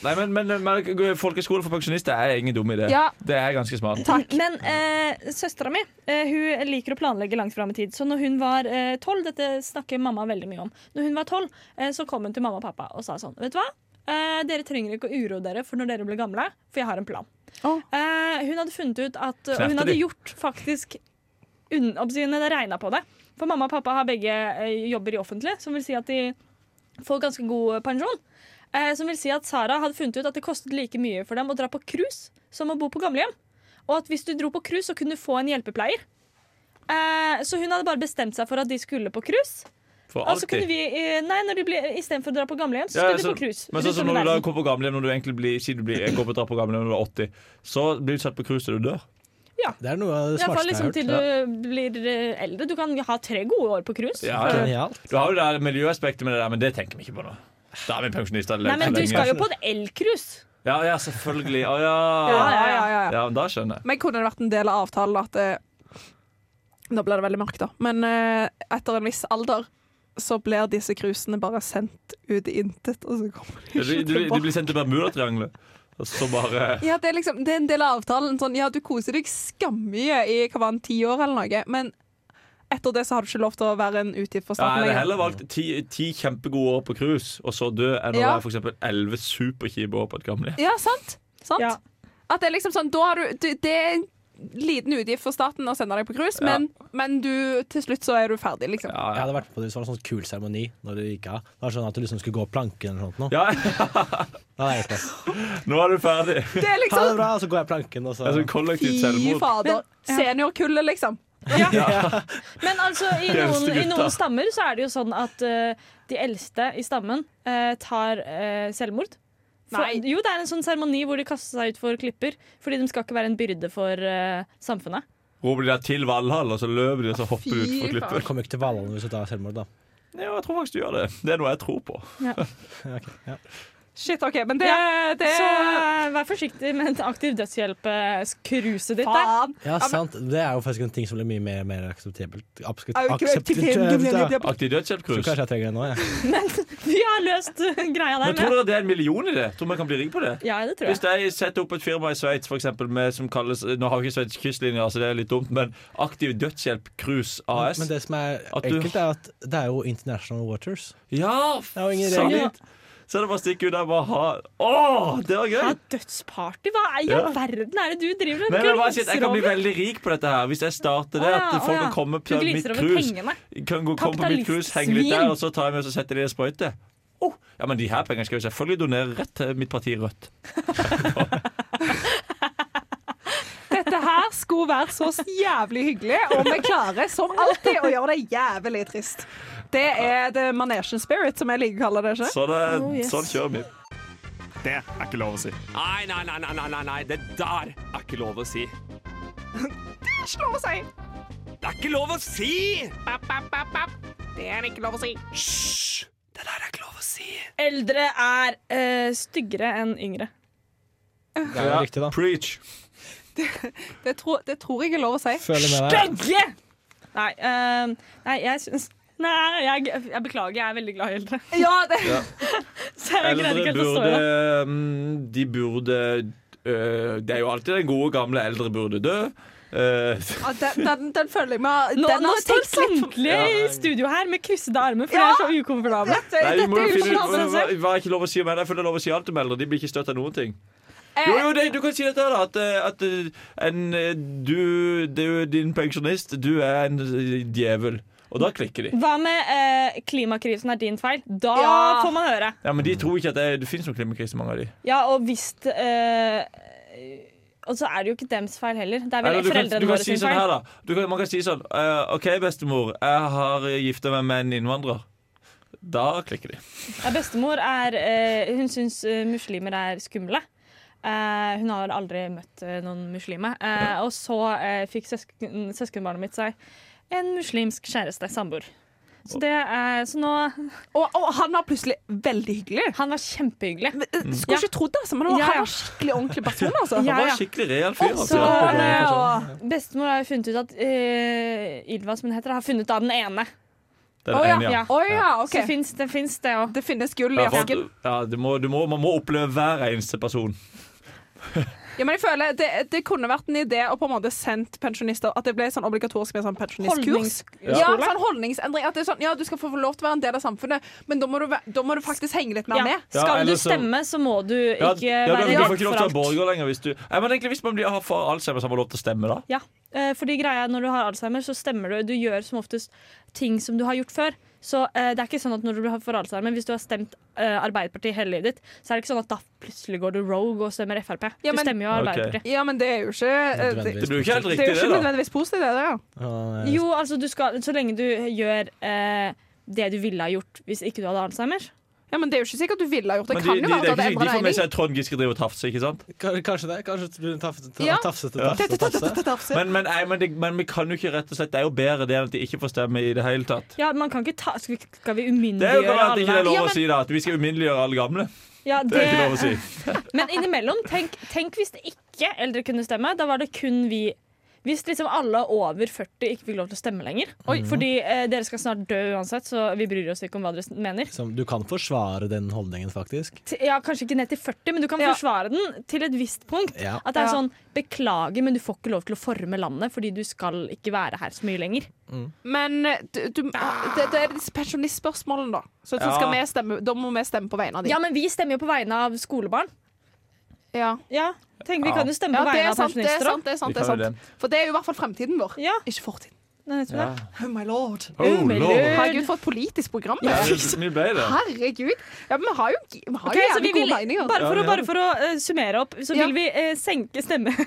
[SPEAKER 3] Nei, men, men, men Folkeskole for pensjonister er ingen dum idé.
[SPEAKER 7] Ja.
[SPEAKER 3] Det er ganske smart.
[SPEAKER 5] Men eh, søstera mi eh, hun liker å planlegge langt fram i tid. Så når hun var eh, tolv, dette snakker mamma veldig mye om, Når hun var 12, eh, så kom hun til mamma og pappa og sa sånn Vet du hva? Eh, dere trenger ikke å uroe dere for når dere blir gamle, for jeg har en plan.
[SPEAKER 7] Å.
[SPEAKER 5] Eh, hun hadde funnet ut at Og
[SPEAKER 3] Knerte
[SPEAKER 5] hun
[SPEAKER 3] de?
[SPEAKER 5] hadde gjort faktisk un- oppsynet, det regna på det. For mamma og pappa har begge eh, jobber i offentlig, som vil si at de får ganske god pensjon. Eh, som vil si at Sara hadde funnet ut at det kostet like mye for dem å dra på cruise som å bo på gamlehjem. Og at hvis du dro på cruise, så kunne du få en hjelpepleier. Eh, så hun hadde bare bestemt seg for at de skulle på cruise.
[SPEAKER 3] For
[SPEAKER 5] Og så kunne
[SPEAKER 3] alltid.
[SPEAKER 5] vi, eh, nei, når de ble, Istedenfor å dra på gamlehjem, så skulle
[SPEAKER 3] Ja, ja,
[SPEAKER 5] de
[SPEAKER 3] så-
[SPEAKER 5] på cruise.
[SPEAKER 3] Men
[SPEAKER 5] rundt
[SPEAKER 3] sånn
[SPEAKER 5] om
[SPEAKER 3] som
[SPEAKER 5] i
[SPEAKER 3] når du da
[SPEAKER 5] verden.
[SPEAKER 3] går på gamlehjem når du egentlig blir, sier du blir, går på, drar på gamlehjem når du er 80, så blir du satt på cruise til du dør.
[SPEAKER 9] Det er noe av det
[SPEAKER 5] I hvert fall liksom
[SPEAKER 9] smarteste
[SPEAKER 5] til
[SPEAKER 9] jeg
[SPEAKER 5] du
[SPEAKER 9] har hørt.
[SPEAKER 5] blir eh, eldre. Du kan ha tre gode år på cruise.
[SPEAKER 3] Ja,
[SPEAKER 5] For-
[SPEAKER 9] Genialt.
[SPEAKER 3] Du har jo det der miljøaspektet med det der, men det tenker vi ikke på nå. Da er vi pensjonister
[SPEAKER 5] Nei, men du skal jo
[SPEAKER 3] lenge. altså.
[SPEAKER 5] på en elcruise.
[SPEAKER 3] Ja, ja, selvfølgelig. Å ja.
[SPEAKER 7] Ja, ja, ja, ja.
[SPEAKER 3] Ja, men da skjønner jeg.
[SPEAKER 7] Men kunne det vært en del av avtalen at eh, Nå blir det veldig mørkt, da. Men eh, etter en viss alder så blir disse cruisene bare sendt ut i intet, og så kommer de
[SPEAKER 3] Du,
[SPEAKER 7] ikke
[SPEAKER 3] du, du
[SPEAKER 7] tilbake.
[SPEAKER 3] blir sendt til Bermudatriangelet, og så bare
[SPEAKER 7] Ja, det er liksom Det er en del av avtalen. Sånn, ja, du koser deg skammye i hva var det, ti år eller noe, men etter det så har du ikke lov til å være en utgift
[SPEAKER 3] Ja, jeg
[SPEAKER 7] for staten
[SPEAKER 3] hadde
[SPEAKER 7] lenger.
[SPEAKER 3] heller valgt ti, ti kjempegode år på cruise og så dø, enn å
[SPEAKER 7] Ja.
[SPEAKER 3] være for eksempel elleve superkjipe år på et gamlehjem.
[SPEAKER 7] Ja, sant? sant?
[SPEAKER 5] Ja.
[SPEAKER 7] At det er liksom sånn Da har du, du Det er en liten utgift for staten å sende deg på cruise,
[SPEAKER 3] Ja.
[SPEAKER 7] men, men du, til slutt så er du ferdig, liksom.
[SPEAKER 3] Ja,
[SPEAKER 9] Jeg
[SPEAKER 3] ja.
[SPEAKER 9] hadde vært med på det hvis det var en sånn kul seremoni når du gikk av. Det var sånn at du liksom skulle gå planken eller sånt noe.
[SPEAKER 3] ja,
[SPEAKER 9] Da hadde jeg gjort det.
[SPEAKER 3] nå er du ferdig.
[SPEAKER 7] Det er
[SPEAKER 9] Ha det
[SPEAKER 7] liksom
[SPEAKER 9] bra, og så går jeg planken, og så
[SPEAKER 3] Altså kollektivt
[SPEAKER 7] Fy
[SPEAKER 3] selvmord.
[SPEAKER 7] fader. Seniorkullet, liksom.
[SPEAKER 5] Men altså, i
[SPEAKER 3] De eldste
[SPEAKER 5] noen, i
[SPEAKER 3] gutta.
[SPEAKER 5] noen stammer så er det jo sånn at eh, de eldste i stammen eh, tar eh, selvmord. For,
[SPEAKER 7] Nei.
[SPEAKER 5] Jo, det er en sånn seremoni hvor de kaster seg ut for klipper, fordi de skal ikke være en byrde for eh, samfunnet.
[SPEAKER 3] Roper de der til Valhall, og så løper de, og så hopper de utfor
[SPEAKER 7] Fy
[SPEAKER 3] klippet.
[SPEAKER 9] Du kommer ikke til Valhall hvis du tar selvmord, da.
[SPEAKER 3] Ja, jeg tror faktisk du gjør det. Det er noe jeg tror på.
[SPEAKER 7] Shit, OK. Men det, det
[SPEAKER 5] Så eh, vær forsiktig med en aktiv dødshjelp-cruiset ditt. Der.
[SPEAKER 7] Faen.
[SPEAKER 9] Ja, sant. Det er jo faktisk en ting som blir mye mer, mer akseptabelt. Akseptabelt,
[SPEAKER 7] Er jo ikke det-
[SPEAKER 3] uh,
[SPEAKER 9] ja.
[SPEAKER 3] Aktiv
[SPEAKER 9] Så
[SPEAKER 3] dødshjelp-cruise.
[SPEAKER 9] kanskje jeg trenger det nå, jeg.
[SPEAKER 5] Vi har løst eh, greia
[SPEAKER 3] Men
[SPEAKER 5] der. Med.
[SPEAKER 3] tror dere det er en million i det? Tror man kan bli rik på det?
[SPEAKER 5] Ja, det tror
[SPEAKER 3] Hvis
[SPEAKER 5] jeg.
[SPEAKER 3] de setter opp et firma i Sveits for eksempel, med, som kalles Nå har vi ikke Sveits kystlinjer, så det er litt dumt, men Aktiv Dødshjelp Cruise AS.
[SPEAKER 9] Men det som er
[SPEAKER 3] At du-
[SPEAKER 9] enkelt, er at det er jo International Waters.
[SPEAKER 3] Ja,
[SPEAKER 9] Det er jo ingen
[SPEAKER 3] sant!
[SPEAKER 9] regler.
[SPEAKER 3] Så er det bare å stikke ut der og bare ha Å, det var
[SPEAKER 5] Ja,
[SPEAKER 3] gøy!
[SPEAKER 5] dødsparty? Hva i
[SPEAKER 3] Ja.
[SPEAKER 5] all verden er det du driver
[SPEAKER 3] Nei,
[SPEAKER 5] med?
[SPEAKER 3] men bare si at Jeg kan bli
[SPEAKER 5] Gliser over-
[SPEAKER 3] veldig rik på dette her hvis jeg starter det.
[SPEAKER 5] Å ja,
[SPEAKER 3] At
[SPEAKER 5] å
[SPEAKER 3] folk
[SPEAKER 5] ja.
[SPEAKER 3] kan komme
[SPEAKER 5] Du
[SPEAKER 3] på mitt
[SPEAKER 5] gliser over
[SPEAKER 3] cruise.
[SPEAKER 5] pengene.
[SPEAKER 3] Kan gå, komme på mitt cruise, henge litt der, og så tar jeg med og så setter de i en sprøyte. Oh, ja, men de her pengene skal jeg selvfølgelig donere rett til mitt parti Rødt.
[SPEAKER 7] Dette her skulle være så jævlig hyggelig, og vi klarer som alltid å gjøre det jævlig trist. Det er the manesjen spirit, som jeg liker å kalle det. ikke?
[SPEAKER 3] Så det,
[SPEAKER 5] Oh, yes.
[SPEAKER 3] Sånn kjører vi.
[SPEAKER 12] Det er ikke lov å si. Nei, nei, nei, nei, nei, nei, nei. det der er ikke lov å si. Det er ikke lov å si!
[SPEAKER 8] Det er ikke lov å si.
[SPEAKER 12] Hysj! Det der er ikke lov å si.
[SPEAKER 5] Eldre er eh, styggere enn yngre.
[SPEAKER 9] Det er jo riktig, da.
[SPEAKER 3] Preach.
[SPEAKER 7] Det, tror- det tror jeg er lov å si.
[SPEAKER 9] Føler med deg.
[SPEAKER 5] Stygge! Nei, eh, nei, jeg syns Nei, jeg, jeg beklager, jeg er veldig glad i eldre.
[SPEAKER 7] Ja, det,
[SPEAKER 5] Så jeg greide ikke
[SPEAKER 3] Eldre
[SPEAKER 5] helt å stå i det.
[SPEAKER 3] burde mm, De burde øh, Det er jo alltid den gode gamle eldre burde dø. Eh,
[SPEAKER 7] ja, den, den, den føler jeg med
[SPEAKER 5] Nå,
[SPEAKER 7] Den
[SPEAKER 5] nå
[SPEAKER 7] har jeg
[SPEAKER 5] står
[SPEAKER 7] tenkt litt på.
[SPEAKER 5] samtlige i studio her med kryssede armer, for
[SPEAKER 7] Ja.
[SPEAKER 5] det er så ukomfortable.
[SPEAKER 7] Dette,
[SPEAKER 3] Nei, vi må jo
[SPEAKER 7] dette er
[SPEAKER 3] finne
[SPEAKER 7] jo ikke
[SPEAKER 3] ut
[SPEAKER 7] lov å
[SPEAKER 3] hva,
[SPEAKER 7] si.
[SPEAKER 3] hva er ikke lov å si om eldre. Jeg føler det er lov å si alt om eldre. De blir ikke støtt av noen ting. Jo, jo, det, du kan si dette, da. At, eh, at eh, en eh, du, du, din pensjonist, du er en eh, djevel. Og da klikker de.
[SPEAKER 5] Hva med eh, klimakrisen er din feil? Da
[SPEAKER 7] Ja.
[SPEAKER 5] får man høre.
[SPEAKER 3] Ja, Men de tror ikke at det, det finnes noen klimakrise, mange av de.
[SPEAKER 5] Ja, og hvis eh, Og så er det jo ikke dems feil heller. Det er vel
[SPEAKER 3] Eller du kan,
[SPEAKER 5] foreldrene
[SPEAKER 3] du kan
[SPEAKER 5] våre
[SPEAKER 3] si
[SPEAKER 5] sin
[SPEAKER 3] sånn
[SPEAKER 5] feil.
[SPEAKER 3] her, da. Du kan, man kan si sånn eh, OK, bestemor, jeg har gifta meg med en innvandrer. Da klikker de.
[SPEAKER 5] Ja, bestemor er, eh, hun syns eh, muslimer er skumle. Eh, hun har aldri møtt eh, noen muslime. Eh, og så eh, fikk søsken, søskenbarnet mitt seg en muslimsk kjæreste, samboer. Så, det er, så nå
[SPEAKER 7] Og, og han var plutselig veldig hyggelig.
[SPEAKER 5] Han var kjempehyggelig.
[SPEAKER 7] Men, eh, Skulle ikke trodd det, altså, men han var,
[SPEAKER 5] Ja, ja.
[SPEAKER 7] han var skikkelig ordentlig person, altså.
[SPEAKER 5] Ja,
[SPEAKER 3] Mm. Han var
[SPEAKER 5] ja.
[SPEAKER 3] en skikkelig real fyr.
[SPEAKER 5] Og
[SPEAKER 3] Altså.
[SPEAKER 5] så
[SPEAKER 7] Ja,
[SPEAKER 5] er
[SPEAKER 7] det,
[SPEAKER 5] det-
[SPEAKER 7] og,
[SPEAKER 5] Bestemor har jo funnet ut at eh, Ylva, som hun heter, har funnet av den ene.
[SPEAKER 3] Den
[SPEAKER 7] Å, ja.
[SPEAKER 3] ene, ja.
[SPEAKER 5] Ja.
[SPEAKER 7] Å, ja, OK.
[SPEAKER 5] Så fins det, finnes det òg.
[SPEAKER 7] Det finnes gull i
[SPEAKER 3] Ja, for,
[SPEAKER 7] asken.
[SPEAKER 3] ja, du må, du må, man må oppleve hver eneste person.
[SPEAKER 7] Ja, men jeg føler det, det kunne vært en idé å på en måte sendt pensjonister At det ble sånn obligatorisk med sånn pensjonistkurs.
[SPEAKER 5] Holdningsskole.
[SPEAKER 7] Ja, sånn holdningsendring. At det er sånn, ja, du skal få lov til å være en del av samfunnet, men da må du, væ- da må du faktisk henge litt mer
[SPEAKER 5] Ja.
[SPEAKER 7] med.
[SPEAKER 3] Ja,
[SPEAKER 5] Skal
[SPEAKER 3] eller
[SPEAKER 5] du
[SPEAKER 3] så-
[SPEAKER 5] stemme, så må du
[SPEAKER 3] Ja,
[SPEAKER 5] ikke
[SPEAKER 3] ja,
[SPEAKER 5] være
[SPEAKER 3] du, du får
[SPEAKER 5] redd
[SPEAKER 3] ikke lov
[SPEAKER 5] for
[SPEAKER 3] til å være
[SPEAKER 5] alt.
[SPEAKER 3] borger lenger hvis du Nei, men egentlig Hvis man blir, har for Alzheimer, så har man lov til å stemme, da.
[SPEAKER 5] Ja, eh, fordi greia er Når du har alzheimer, så stemmer du. Du gjør som oftest ting som du har gjort før. Så eh, det er ikke sånn at når du har forhalsarmen, hvis du har stemt eh, Arbeiderpartiet hele livet ditt, så er det ikke sånn at da plutselig går du rogue og stemmer Frp.
[SPEAKER 7] Ja,
[SPEAKER 5] du
[SPEAKER 7] men-
[SPEAKER 5] stemmer jo
[SPEAKER 3] Ok.
[SPEAKER 5] Arbeiderpartiet.
[SPEAKER 7] Ja, men det er jo ikke eh, det,
[SPEAKER 3] Det blir jo ikke helt
[SPEAKER 7] det er jo
[SPEAKER 3] riktig,
[SPEAKER 7] ikke
[SPEAKER 3] det, da.
[SPEAKER 7] nødvendigvis positivt, det. da.
[SPEAKER 3] Eh.
[SPEAKER 9] Ja,
[SPEAKER 5] Jo, altså du skal, så lenge du gjør eh, det du ville ha gjort hvis ikke du hadde alzheimer.
[SPEAKER 7] Ja, men det er jo ikke sikkert du ville ha gjort det.
[SPEAKER 3] Men
[SPEAKER 7] kan
[SPEAKER 3] de,
[SPEAKER 7] jo
[SPEAKER 3] de,
[SPEAKER 7] være
[SPEAKER 3] det er
[SPEAKER 7] at det
[SPEAKER 3] ikke sikkert
[SPEAKER 7] endrer
[SPEAKER 3] de får med
[SPEAKER 7] mening.
[SPEAKER 3] seg at Trond Giske driver og tafser, ikke sant?
[SPEAKER 9] K- Kanskje det. Kanskje du tafset,
[SPEAKER 7] Ja.
[SPEAKER 9] tafset,
[SPEAKER 3] Ja.
[SPEAKER 9] tafset, tafset.
[SPEAKER 3] Men, men, nei, men, det, men vi kan jo ikke rett og slett Det er jo bedre det enn at de ikke får stemme i det hele tatt.
[SPEAKER 5] Ja, man kan ikke ta, skal, vi- skal vi
[SPEAKER 7] Mm,
[SPEAKER 3] Det er jo
[SPEAKER 5] umyndiggjøre
[SPEAKER 3] bare at det ikke er
[SPEAKER 5] alle?
[SPEAKER 3] lov
[SPEAKER 7] Ja,
[SPEAKER 3] å
[SPEAKER 7] men-
[SPEAKER 3] si da at vi skal umyndiggjøre alle gamle.
[SPEAKER 5] Ja,
[SPEAKER 3] Det er ikke lov å si.
[SPEAKER 5] Men innimellom, tenk, tenk hvis det ikke eldre kunne stemme. Da var det kun vi. Hvis liksom alle over 40 ikke fikk lov til å stemme lenger. Fordi eh, dere skal snart dø uansett, så vi bryr oss ikke om hva dere s- mener.
[SPEAKER 9] Som, du kan forsvare den holdningen, faktisk.
[SPEAKER 5] Til, ja, Kanskje ikke ned til 40, men du kan
[SPEAKER 7] Ja.
[SPEAKER 5] forsvare den til et visst punkt.
[SPEAKER 9] Ja.
[SPEAKER 5] At det er
[SPEAKER 7] Ja.
[SPEAKER 5] sånn Beklager, men du får ikke lov til å forme landet fordi du skal ikke være her så mye lenger.
[SPEAKER 7] Men eh, du, du, det, det er disse pensjonistspørsmålene, da. Så så
[SPEAKER 3] Ja.
[SPEAKER 7] skal vi stemme, da må vi stemme på vegne av dem.
[SPEAKER 5] Ja, men vi stemmer jo på vegne av skolebarn.
[SPEAKER 7] Ja.
[SPEAKER 5] Ja, tenk, Vi
[SPEAKER 3] Ja.
[SPEAKER 5] kan jo stemme
[SPEAKER 7] Ja,
[SPEAKER 5] på
[SPEAKER 7] det
[SPEAKER 5] vegne
[SPEAKER 7] er
[SPEAKER 5] av
[SPEAKER 7] sant, det er
[SPEAKER 5] pensjonister òg.
[SPEAKER 7] sant. Det er sant, det er
[SPEAKER 3] Vi kan jo
[SPEAKER 7] sant. For det er jo i hvert fall fremtiden vår,
[SPEAKER 5] Ja,
[SPEAKER 7] ikke fortiden.
[SPEAKER 5] nei, jeg tror det.
[SPEAKER 7] Oh my lord.
[SPEAKER 3] Oh, lord.
[SPEAKER 7] Herregud, for et politisk program. det
[SPEAKER 3] Ja,
[SPEAKER 7] er.
[SPEAKER 3] det- Vi ble det.
[SPEAKER 7] Herregud. Ja, men vi har jo, vi har
[SPEAKER 5] Ok,
[SPEAKER 7] jo
[SPEAKER 5] så
[SPEAKER 7] jævlig
[SPEAKER 5] vi
[SPEAKER 7] gode
[SPEAKER 5] vil,
[SPEAKER 7] meninger.
[SPEAKER 5] bare for
[SPEAKER 3] Ja,
[SPEAKER 5] å,
[SPEAKER 3] vi
[SPEAKER 5] bare for å eh, summere opp, så
[SPEAKER 7] Ja.
[SPEAKER 5] vil vi eh, senke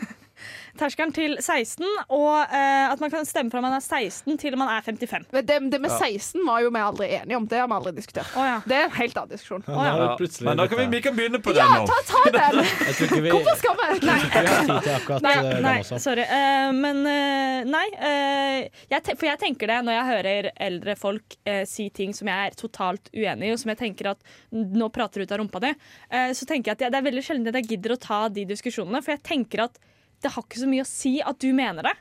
[SPEAKER 5] stemmeterskelen til 16, og eh, at man kan stemme fra man er 16 til man er 55.
[SPEAKER 7] Men Det, det med 16 var jo vi aldri enige om. Det har vi aldri diskutert.
[SPEAKER 5] Å ja.
[SPEAKER 7] Det er en helt annen diskusjon.
[SPEAKER 9] Nå har
[SPEAKER 3] Ja.
[SPEAKER 9] vi plutselig
[SPEAKER 3] Men da kan vi, vi
[SPEAKER 9] dette.
[SPEAKER 3] kan begynne på
[SPEAKER 7] Ja,
[SPEAKER 3] den nå.
[SPEAKER 7] ta, ta den!
[SPEAKER 9] Jeg tror ikke vi,
[SPEAKER 7] Hvorfor skal vi Nei.
[SPEAKER 9] vi har tid til akkurat
[SPEAKER 5] Nei,
[SPEAKER 9] eh, den
[SPEAKER 5] nei
[SPEAKER 9] også.
[SPEAKER 5] sorry. Eh, men eh, nei. eh, jeg te for jeg tenker det når jeg hører eldre folk eh, si ting som jeg er totalt uenig i, og som jeg tenker at n- nå prater du ut av rumpa di, eh, så tenker jeg at jeg, det er veldig sjelden at jeg gidder å ta de diskusjonene. For jeg tenker at det har ikke så mye å si at du mener det.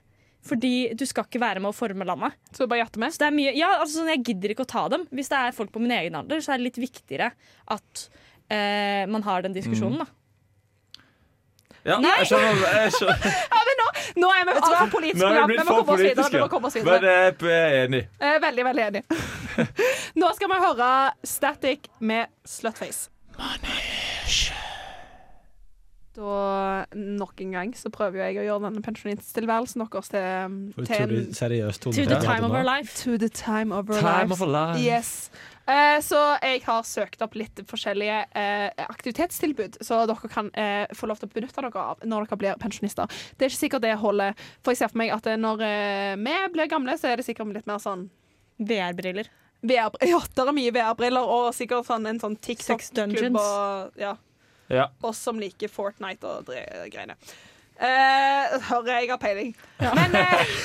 [SPEAKER 5] Fordi du skal ikke være med å forme landet.
[SPEAKER 7] Så bare gjette med.
[SPEAKER 5] Så det er mye, ja, altså sånn, Jeg gidder ikke å ta dem. Hvis det er folk på min egen alder, så er det litt viktigere at eh, man har den diskusjonen. da.
[SPEAKER 3] Ja, jeg skjønner, jeg skjønner.
[SPEAKER 7] Nå er vi altfor
[SPEAKER 3] Nå
[SPEAKER 7] politiske.
[SPEAKER 3] er vi
[SPEAKER 7] ja. Vi
[SPEAKER 3] blitt
[SPEAKER 7] må
[SPEAKER 3] for
[SPEAKER 7] komme oss videre. Vi
[SPEAKER 3] politiske.
[SPEAKER 7] må komme oss
[SPEAKER 3] Men
[SPEAKER 7] videre.
[SPEAKER 3] jeg er enig.
[SPEAKER 7] Eh, Veldig, veldig enig. Nå skal vi høre Static med Slutface. Da nok en gang så prøver jo jeg å gjøre denne pensjonisttilværelsen deres til, um, til
[SPEAKER 9] Utrolig
[SPEAKER 7] en
[SPEAKER 9] seriøs tone.
[SPEAKER 5] To
[SPEAKER 9] vi
[SPEAKER 5] the
[SPEAKER 9] hadde
[SPEAKER 5] time of
[SPEAKER 9] nå.
[SPEAKER 5] our life.
[SPEAKER 7] To the time of our
[SPEAKER 3] Time
[SPEAKER 7] lives.
[SPEAKER 3] of a life.
[SPEAKER 7] Yes. Eh, så jeg har søkt opp litt forskjellige eh, aktivitetstilbud, så dere kan eh, få lov til å benytte dere av når dere blir pensjonister. Det er ikke sikkert det holder, for jeg ser for meg at eh, når eh, vi blir gamle, så er det sikkert litt mer sånn
[SPEAKER 5] VR-briller.
[SPEAKER 7] VR, ja, der er mye VR-briller og sikkert sånn, en sånn
[SPEAKER 5] Sex dungeons.
[SPEAKER 7] TikTok-klubb og ja,
[SPEAKER 3] Ja.
[SPEAKER 7] oss som liker Fortnite og dre- greiene. Eh, hører jeg har peiling. Men eh,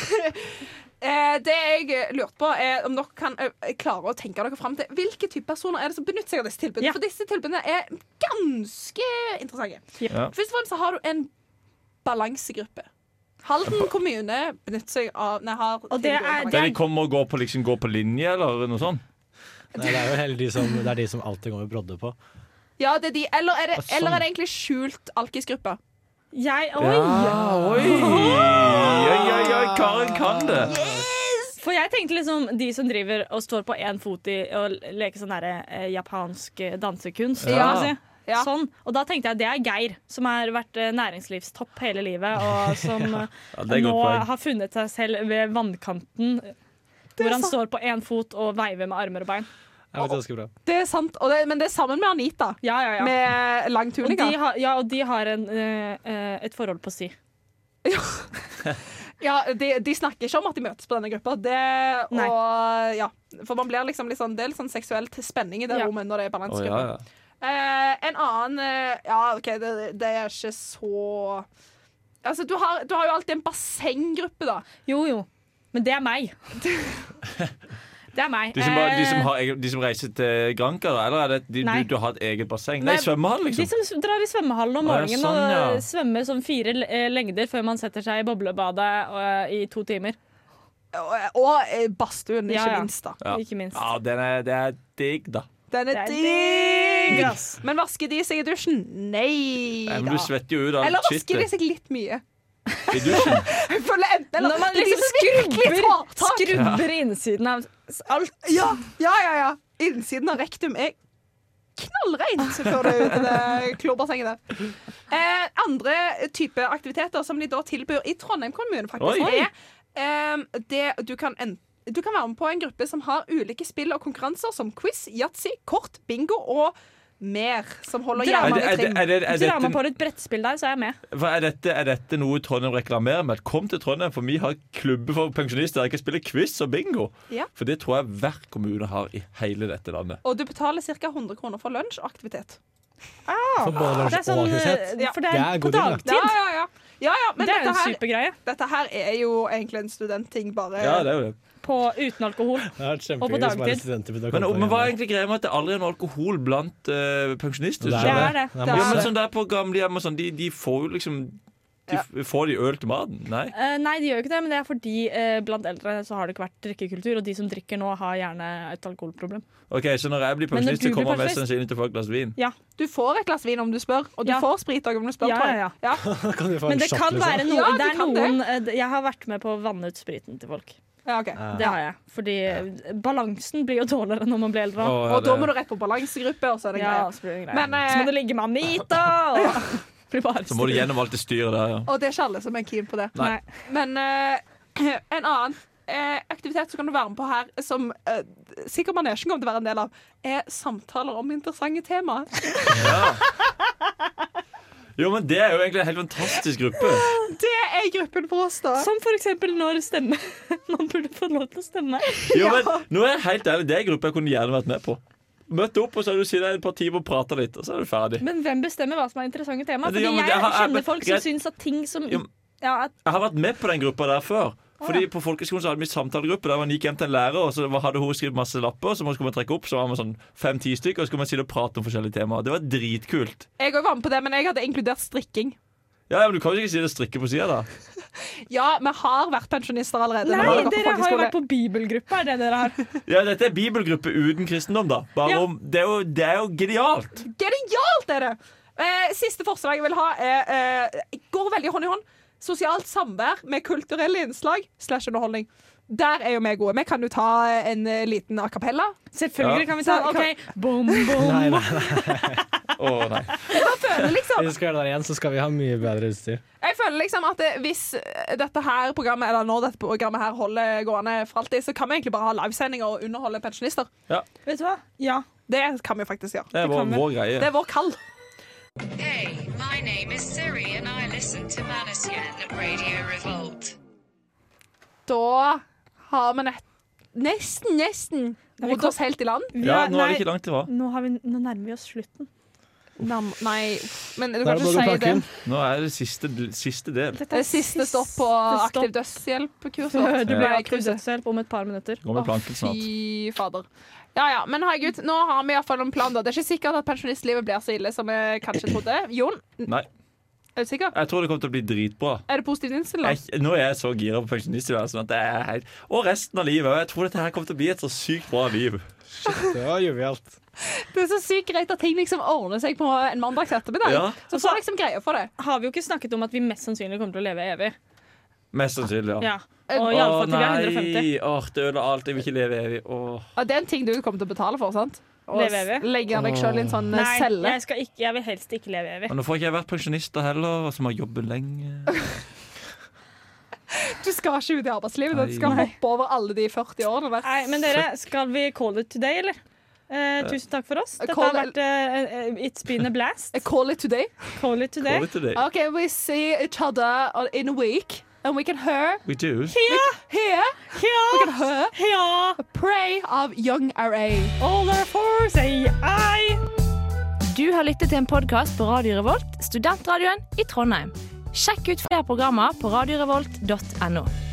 [SPEAKER 7] eh, det jeg lurte på, er om dere kan eh, klare å tenke dere fram til hvilke type personer er det som benytter seg av disse tilbudene.
[SPEAKER 5] Ja.
[SPEAKER 7] For disse tilbudene er ganske interessante.
[SPEAKER 3] Ja.
[SPEAKER 7] Først og fremst så har du en balansegruppe. Halden kommune benytter seg av Nei, har
[SPEAKER 5] Og det er-
[SPEAKER 7] tilbud-
[SPEAKER 3] Der de kommer og går på, liksom, går på linje, eller noe sånt?
[SPEAKER 9] Nei, det er jo heller de som, det er de som alltid går med brodde på.
[SPEAKER 7] Ja, det er de. Eller er det,
[SPEAKER 9] Ja, sånn.
[SPEAKER 7] eller er det egentlig skjult alkisgruppe?
[SPEAKER 5] Jeg, oi!
[SPEAKER 3] Oi! Oi, oi, oi, Karin kan det!
[SPEAKER 5] For jeg tenkte liksom de som driver og står på én fot i og leker sånn derre eh, japansk eh, dansekunst.
[SPEAKER 7] Ja.
[SPEAKER 5] kan man Si.
[SPEAKER 7] Ja.
[SPEAKER 5] Sånn. Og da tenkte jeg det er Geir, som har vært eh, næringslivstopp hele livet, og som eh,
[SPEAKER 3] Ja, det er et
[SPEAKER 5] nå
[SPEAKER 3] godt poeng.
[SPEAKER 5] har funnet seg selv ved vannkanten. Hvor han står på én fot og veiver med armer og bein.
[SPEAKER 9] Det er ganske bra.
[SPEAKER 7] Det er sant, og det, men det er sammen med Anita.
[SPEAKER 5] Ja, ja, ja.
[SPEAKER 7] Med lang
[SPEAKER 5] Og de
[SPEAKER 7] tunika.
[SPEAKER 5] har, ja, og de har en, eh, eh, et forhold på si.
[SPEAKER 7] Ja, de, de snakker ikke om at de møtes på denne gruppa. Det,
[SPEAKER 5] Nei.
[SPEAKER 7] og, ja, for man blir liksom litt sånn, det er litt sånn seksuell spenning i det
[SPEAKER 5] Ja.
[SPEAKER 7] rommet når det
[SPEAKER 3] Å,
[SPEAKER 7] er
[SPEAKER 3] ja,
[SPEAKER 7] balansegruppa.
[SPEAKER 3] ja.
[SPEAKER 7] eh, en annen eh, Ja, OK, det, det er ikke så Altså, du har, du har jo alltid en bassenggruppe, da.
[SPEAKER 5] Jo, jo. Men det er meg. Det er meg.
[SPEAKER 3] De som, bare, de, som
[SPEAKER 5] Eh,
[SPEAKER 3] har, egen- de som reiser til Granca, da? Eller er det de,
[SPEAKER 5] Nei.
[SPEAKER 3] du, du har et eget basseng?
[SPEAKER 7] Nei,
[SPEAKER 3] Nei, svømmehall,
[SPEAKER 5] De
[SPEAKER 3] liksom?
[SPEAKER 5] som s- drar i svømmehallen om
[SPEAKER 3] Å, ja,
[SPEAKER 5] morgenen
[SPEAKER 3] sånn, ja.
[SPEAKER 5] og eh, svømmer som fire l- eh, lengder før man setter seg i boblebadet eh, i to timer.
[SPEAKER 7] Og, og eh, badstuen, ikke
[SPEAKER 5] Ja, ja.
[SPEAKER 7] minst. da
[SPEAKER 3] Ja.
[SPEAKER 5] Ikke minst.
[SPEAKER 3] Ja, den er, det er digg, da.
[SPEAKER 7] Den er
[SPEAKER 5] Det er
[SPEAKER 7] digg!
[SPEAKER 5] ass.
[SPEAKER 7] Men vasker de seg i dusjen? Nei
[SPEAKER 3] Nei, men
[SPEAKER 7] da.
[SPEAKER 3] du svetter jo ut
[SPEAKER 7] Eller
[SPEAKER 3] alt
[SPEAKER 7] vasker de
[SPEAKER 3] skittet
[SPEAKER 7] seg litt mye?
[SPEAKER 3] i dusjen.
[SPEAKER 7] Jeg føler enten eller.
[SPEAKER 5] Når man
[SPEAKER 7] Det er de
[SPEAKER 5] liksom
[SPEAKER 7] som virkelig tar
[SPEAKER 5] skrubber,
[SPEAKER 7] tak.
[SPEAKER 5] skrubber innsiden av s- alt.
[SPEAKER 7] Ja, ja, ja, ja. Innsiden av rektum er knallrein, så får du ut i det klobbersenget der. Eh, andre type aktiviteter som de da tilbyr i Trondheim kommune, faktisk,
[SPEAKER 3] Oi.
[SPEAKER 7] er eh, ehm, det du kan en, du kan være med på en gruppe som har ulike spill og konkurranser som quiz, yatzy, kort, bingo og mer. Som holder
[SPEAKER 5] Drama.
[SPEAKER 7] jernene
[SPEAKER 3] Er
[SPEAKER 7] i
[SPEAKER 3] det-
[SPEAKER 7] trim.
[SPEAKER 3] er det- er det-
[SPEAKER 5] Drar man på et brettspill der, så er jeg med.
[SPEAKER 3] Hva er dette, er dette noe Trondheim reklamerer med? Kom til Trondheim, for vi har klubber for pensjonister. Jeg kan spille quiz og bingo.
[SPEAKER 7] Ja.
[SPEAKER 3] For det tror jeg hver kommune har i hele dette landet.
[SPEAKER 7] Og du betaler ca. 100 kroner for lunsj og aktivitet.
[SPEAKER 9] For både
[SPEAKER 5] Ah, Det er
[SPEAKER 9] lunsj og
[SPEAKER 5] sånn,
[SPEAKER 9] aktivitet.
[SPEAKER 5] eh, for det
[SPEAKER 9] Det
[SPEAKER 5] er, på
[SPEAKER 9] er god deal, da.
[SPEAKER 5] dagtid.
[SPEAKER 7] Ja, ja, ja. ja, ja men
[SPEAKER 5] det er jo en
[SPEAKER 7] dette her,
[SPEAKER 5] supergreie.
[SPEAKER 7] dette her er jo egentlig en studentting, bare.
[SPEAKER 3] Ja, det er jo det.
[SPEAKER 5] På, uten alkohol.
[SPEAKER 9] Det har vært
[SPEAKER 5] Og på
[SPEAKER 9] kjempegøy hvis bare
[SPEAKER 5] dagtid.
[SPEAKER 9] studenter begynte å
[SPEAKER 3] Men,
[SPEAKER 9] komme på
[SPEAKER 3] men hva er
[SPEAKER 9] igjen.
[SPEAKER 3] egentlig greia med at det aldri er noe alkohol blant eh, pensjonister?
[SPEAKER 9] Det
[SPEAKER 5] Det
[SPEAKER 9] er
[SPEAKER 5] er det.
[SPEAKER 9] Det er
[SPEAKER 7] Det er
[SPEAKER 3] Ja, men
[SPEAKER 9] masse.
[SPEAKER 3] sånn der på gamlehjem og sånn, de, de får jo liksom de,
[SPEAKER 7] Ja.
[SPEAKER 3] f- Får de øl til maten? Nei.
[SPEAKER 5] Eh, nei, de gjør jo ikke det, men det er fordi eh, blant eldre så har det ikke vært drikkekultur, og de som drikker nå, har gjerne et alkoholproblem.
[SPEAKER 3] Ok, Så når jeg blir
[SPEAKER 5] Men når
[SPEAKER 3] pensjonist,
[SPEAKER 5] du
[SPEAKER 3] så
[SPEAKER 5] blir
[SPEAKER 3] kommer jeg mest
[SPEAKER 5] pensjonist-
[SPEAKER 3] sannsynlig til å få et glass vin?
[SPEAKER 7] Du får et glass vin om du spør, og du
[SPEAKER 5] Ja.
[SPEAKER 7] får sprit også om du spør.
[SPEAKER 5] Ja,
[SPEAKER 7] tror jeg.
[SPEAKER 5] ja,
[SPEAKER 7] Ja.
[SPEAKER 9] Kan du få en
[SPEAKER 5] Men det
[SPEAKER 9] shot,
[SPEAKER 5] kan
[SPEAKER 9] liksom?
[SPEAKER 5] være noe
[SPEAKER 7] Ja, du
[SPEAKER 5] det er
[SPEAKER 7] kan det.
[SPEAKER 5] noen, eh, Jeg har vært med på å vanne ut spriten til folk.
[SPEAKER 7] Ja, ok.
[SPEAKER 9] Ja.
[SPEAKER 5] Det har jeg. Fordi eh, balansen blir jo dårligere når man blir eldre.
[SPEAKER 3] Å, ja,
[SPEAKER 7] Og da
[SPEAKER 3] det-
[SPEAKER 7] må du rett på balansegruppe, og så er det en
[SPEAKER 5] Ja,
[SPEAKER 7] greie.
[SPEAKER 5] så blir det en greie.
[SPEAKER 7] Men, eh,
[SPEAKER 5] så må du ligge med Anita og blir bare
[SPEAKER 3] Så må du
[SPEAKER 5] stille.
[SPEAKER 3] gjennom alt det styret der, ja.
[SPEAKER 7] Og det er ikke alle som er keen på det.
[SPEAKER 3] Nei.
[SPEAKER 7] Men eh, en annen eh, aktivitet som kan du være med på her, som eh, sikkert manesjen kommer til å være en del av, er samtaler om interessante temaer.
[SPEAKER 3] Jo, men det er jo egentlig en helt fantastisk gruppe.
[SPEAKER 7] Det er gruppen for oss, da.
[SPEAKER 5] Som for eksempel når stemme Man burde få lov til å stemme.
[SPEAKER 3] Jo, men nå er jeg helt ærlig, Det er en gruppe jeg kunne gjerne vært med på. Møtt opp, og så har du sittet et par timer og prata litt, og så er du ferdig.
[SPEAKER 5] Men hvem bestemmer hva som er interessante tema?
[SPEAKER 3] Men det-
[SPEAKER 5] Fordi
[SPEAKER 3] ja, men
[SPEAKER 5] jeg
[SPEAKER 3] det har- er- men-
[SPEAKER 5] kjenner folk som
[SPEAKER 3] greit.
[SPEAKER 5] syns at ting som
[SPEAKER 3] Jo, men-
[SPEAKER 5] ja, at
[SPEAKER 3] Jeg har vært med på den gruppa der før. Fordi På folkeskolen så hadde vi samtalegruppe der man gikk hjem til en lærer, og så var- hadde hun skrevet masse lapper, så man skulle man trekke opp, så var man sånn fem-ti stykker, og så skulle man sitte og prate om forskjellige temaer. Det var dritkult.
[SPEAKER 7] Jeg òg var med på det, men jeg hadde inkludert strikking.
[SPEAKER 3] Ja, ja, men Du kan jo ikke sitte og strikke på sida, da.
[SPEAKER 7] Ja, vi har vært pensjonister allerede.
[SPEAKER 5] Nei,
[SPEAKER 7] når vi går på
[SPEAKER 5] dere har jo
[SPEAKER 7] folkeskole.
[SPEAKER 5] vært på bibelgruppe, er det dere har?
[SPEAKER 3] Ja, Dette er bibelgruppe uten kristendom, da. Bare
[SPEAKER 5] Ja.
[SPEAKER 3] om, det, er jo, det er jo genialt.
[SPEAKER 7] Genialt er det! Eh, siste forslag jeg vil ha, er eh, går veldig hånd i hånd. Sosialt samvær med kulturelle innslag slash underholdning. Der er jo vi gode. Vi kan jo ta eh, en eh, liten a cappella.
[SPEAKER 5] Selvfølgelig
[SPEAKER 3] Ja.
[SPEAKER 5] kan vi ta
[SPEAKER 7] Så-
[SPEAKER 5] OK, bom, bom.
[SPEAKER 9] Nei, nei, nei.
[SPEAKER 3] Å, nei.
[SPEAKER 7] Føler liksom
[SPEAKER 9] Hvis vi skal gjøre det der igjen, så skal vi ha mye bedre utstyr.
[SPEAKER 7] Jeg føler liksom at eh, hvis dette her programmet Eller når dette programmet her holder gående for alltid, så kan vi egentlig bare ha livesendinger og underholde pensjonister.
[SPEAKER 5] Vet du hva? Ja.
[SPEAKER 7] Det kan vi faktisk gjøre.
[SPEAKER 3] Det er vår, vår greie.
[SPEAKER 7] Det er vår kall. Da har vi nett nesten, nesten
[SPEAKER 5] vi
[SPEAKER 7] rodd oss helt i land.
[SPEAKER 3] ja, nå er
[SPEAKER 5] nei,
[SPEAKER 3] det ikke langt ifra.
[SPEAKER 5] nå, har vi, nå nærmer vi oss slutten.
[SPEAKER 7] Nam, nei, uff, men du
[SPEAKER 9] Da
[SPEAKER 7] kan
[SPEAKER 9] er det
[SPEAKER 7] ikke
[SPEAKER 9] bare å
[SPEAKER 7] si
[SPEAKER 9] pakke
[SPEAKER 7] det.
[SPEAKER 9] inn.
[SPEAKER 3] Nå er det siste, siste del.
[SPEAKER 5] Dette
[SPEAKER 7] Det er siste stopp på
[SPEAKER 5] siste stopp
[SPEAKER 7] aktiv dødshjelp-kurs.
[SPEAKER 5] Før du blir
[SPEAKER 7] Nei,
[SPEAKER 5] aktiv
[SPEAKER 7] kurset.
[SPEAKER 5] dødshjelp om et par minutter.
[SPEAKER 3] Går med planken snart.
[SPEAKER 7] Fy fader. Ja ja, men herregud, nå har vi iallfall en plan, da. Det er ikke sikkert at pensjonistlivet blir så ille som vi kanskje trodde. Jon,
[SPEAKER 3] Nei,
[SPEAKER 7] er du sikker?
[SPEAKER 3] jeg tror det kommer til å bli dritbra.
[SPEAKER 7] Er du positivt innstilt nå?
[SPEAKER 3] Jeg, nå er jeg så gira på pensjonisttilværelsen at det er helt Og resten av livet. Og jeg tror dette her kommer til å bli et så sykt bra liv.
[SPEAKER 9] Det var jovialt.
[SPEAKER 7] Det er så sykt greit at ting liksom ordner seg på en mandags ettermiddag.
[SPEAKER 3] Ja.
[SPEAKER 7] Så får liksom greie for det.
[SPEAKER 5] Har vi jo ikke snakket om at vi mest sannsynlig kommer til å leve evig.
[SPEAKER 3] Mest sannsynlig, ja.
[SPEAKER 5] Ja.
[SPEAKER 7] Eh,
[SPEAKER 5] Og iallfall til vi er 150.
[SPEAKER 3] nei, åh, det ødela alt. Jeg vil ikke leve evig. Åh.
[SPEAKER 7] Og det er en ting du kommer til å betale for, sant? Og
[SPEAKER 5] Leve evig.
[SPEAKER 7] s- legge deg sjøl i en sånn eh,
[SPEAKER 5] Nei,
[SPEAKER 7] celle.
[SPEAKER 5] jeg, skal ikke, jeg vil helst ikke leve evig.
[SPEAKER 3] Men nå får ikke jeg vært pensjonist da heller, og som har jobbet lenge.
[SPEAKER 7] Du skal ikke ut i arbeidslivet. Du
[SPEAKER 3] Nei.
[SPEAKER 7] skal
[SPEAKER 3] Nei.
[SPEAKER 7] hoppe over alle de 40 årene. vet du.
[SPEAKER 5] Nei, men dere, skal vi call it today, eller? Eh, tusen takk for oss. Dette
[SPEAKER 7] Call-
[SPEAKER 5] har vært eh, eh, It's been a blast.
[SPEAKER 7] I call it today.
[SPEAKER 5] Call it today.
[SPEAKER 3] Går vi til det?
[SPEAKER 7] Okay, we see each other on- in a week, and we can hear
[SPEAKER 3] We do.
[SPEAKER 7] here we can hear
[SPEAKER 5] Ja!
[SPEAKER 7] Prey of Young RA.
[SPEAKER 5] All therefore say I.
[SPEAKER 13] Du har lyttet til en podkast på Radio Revolt, studentradioen i Trondheim. Sjekk ut flere programmer på radiorevolt.no.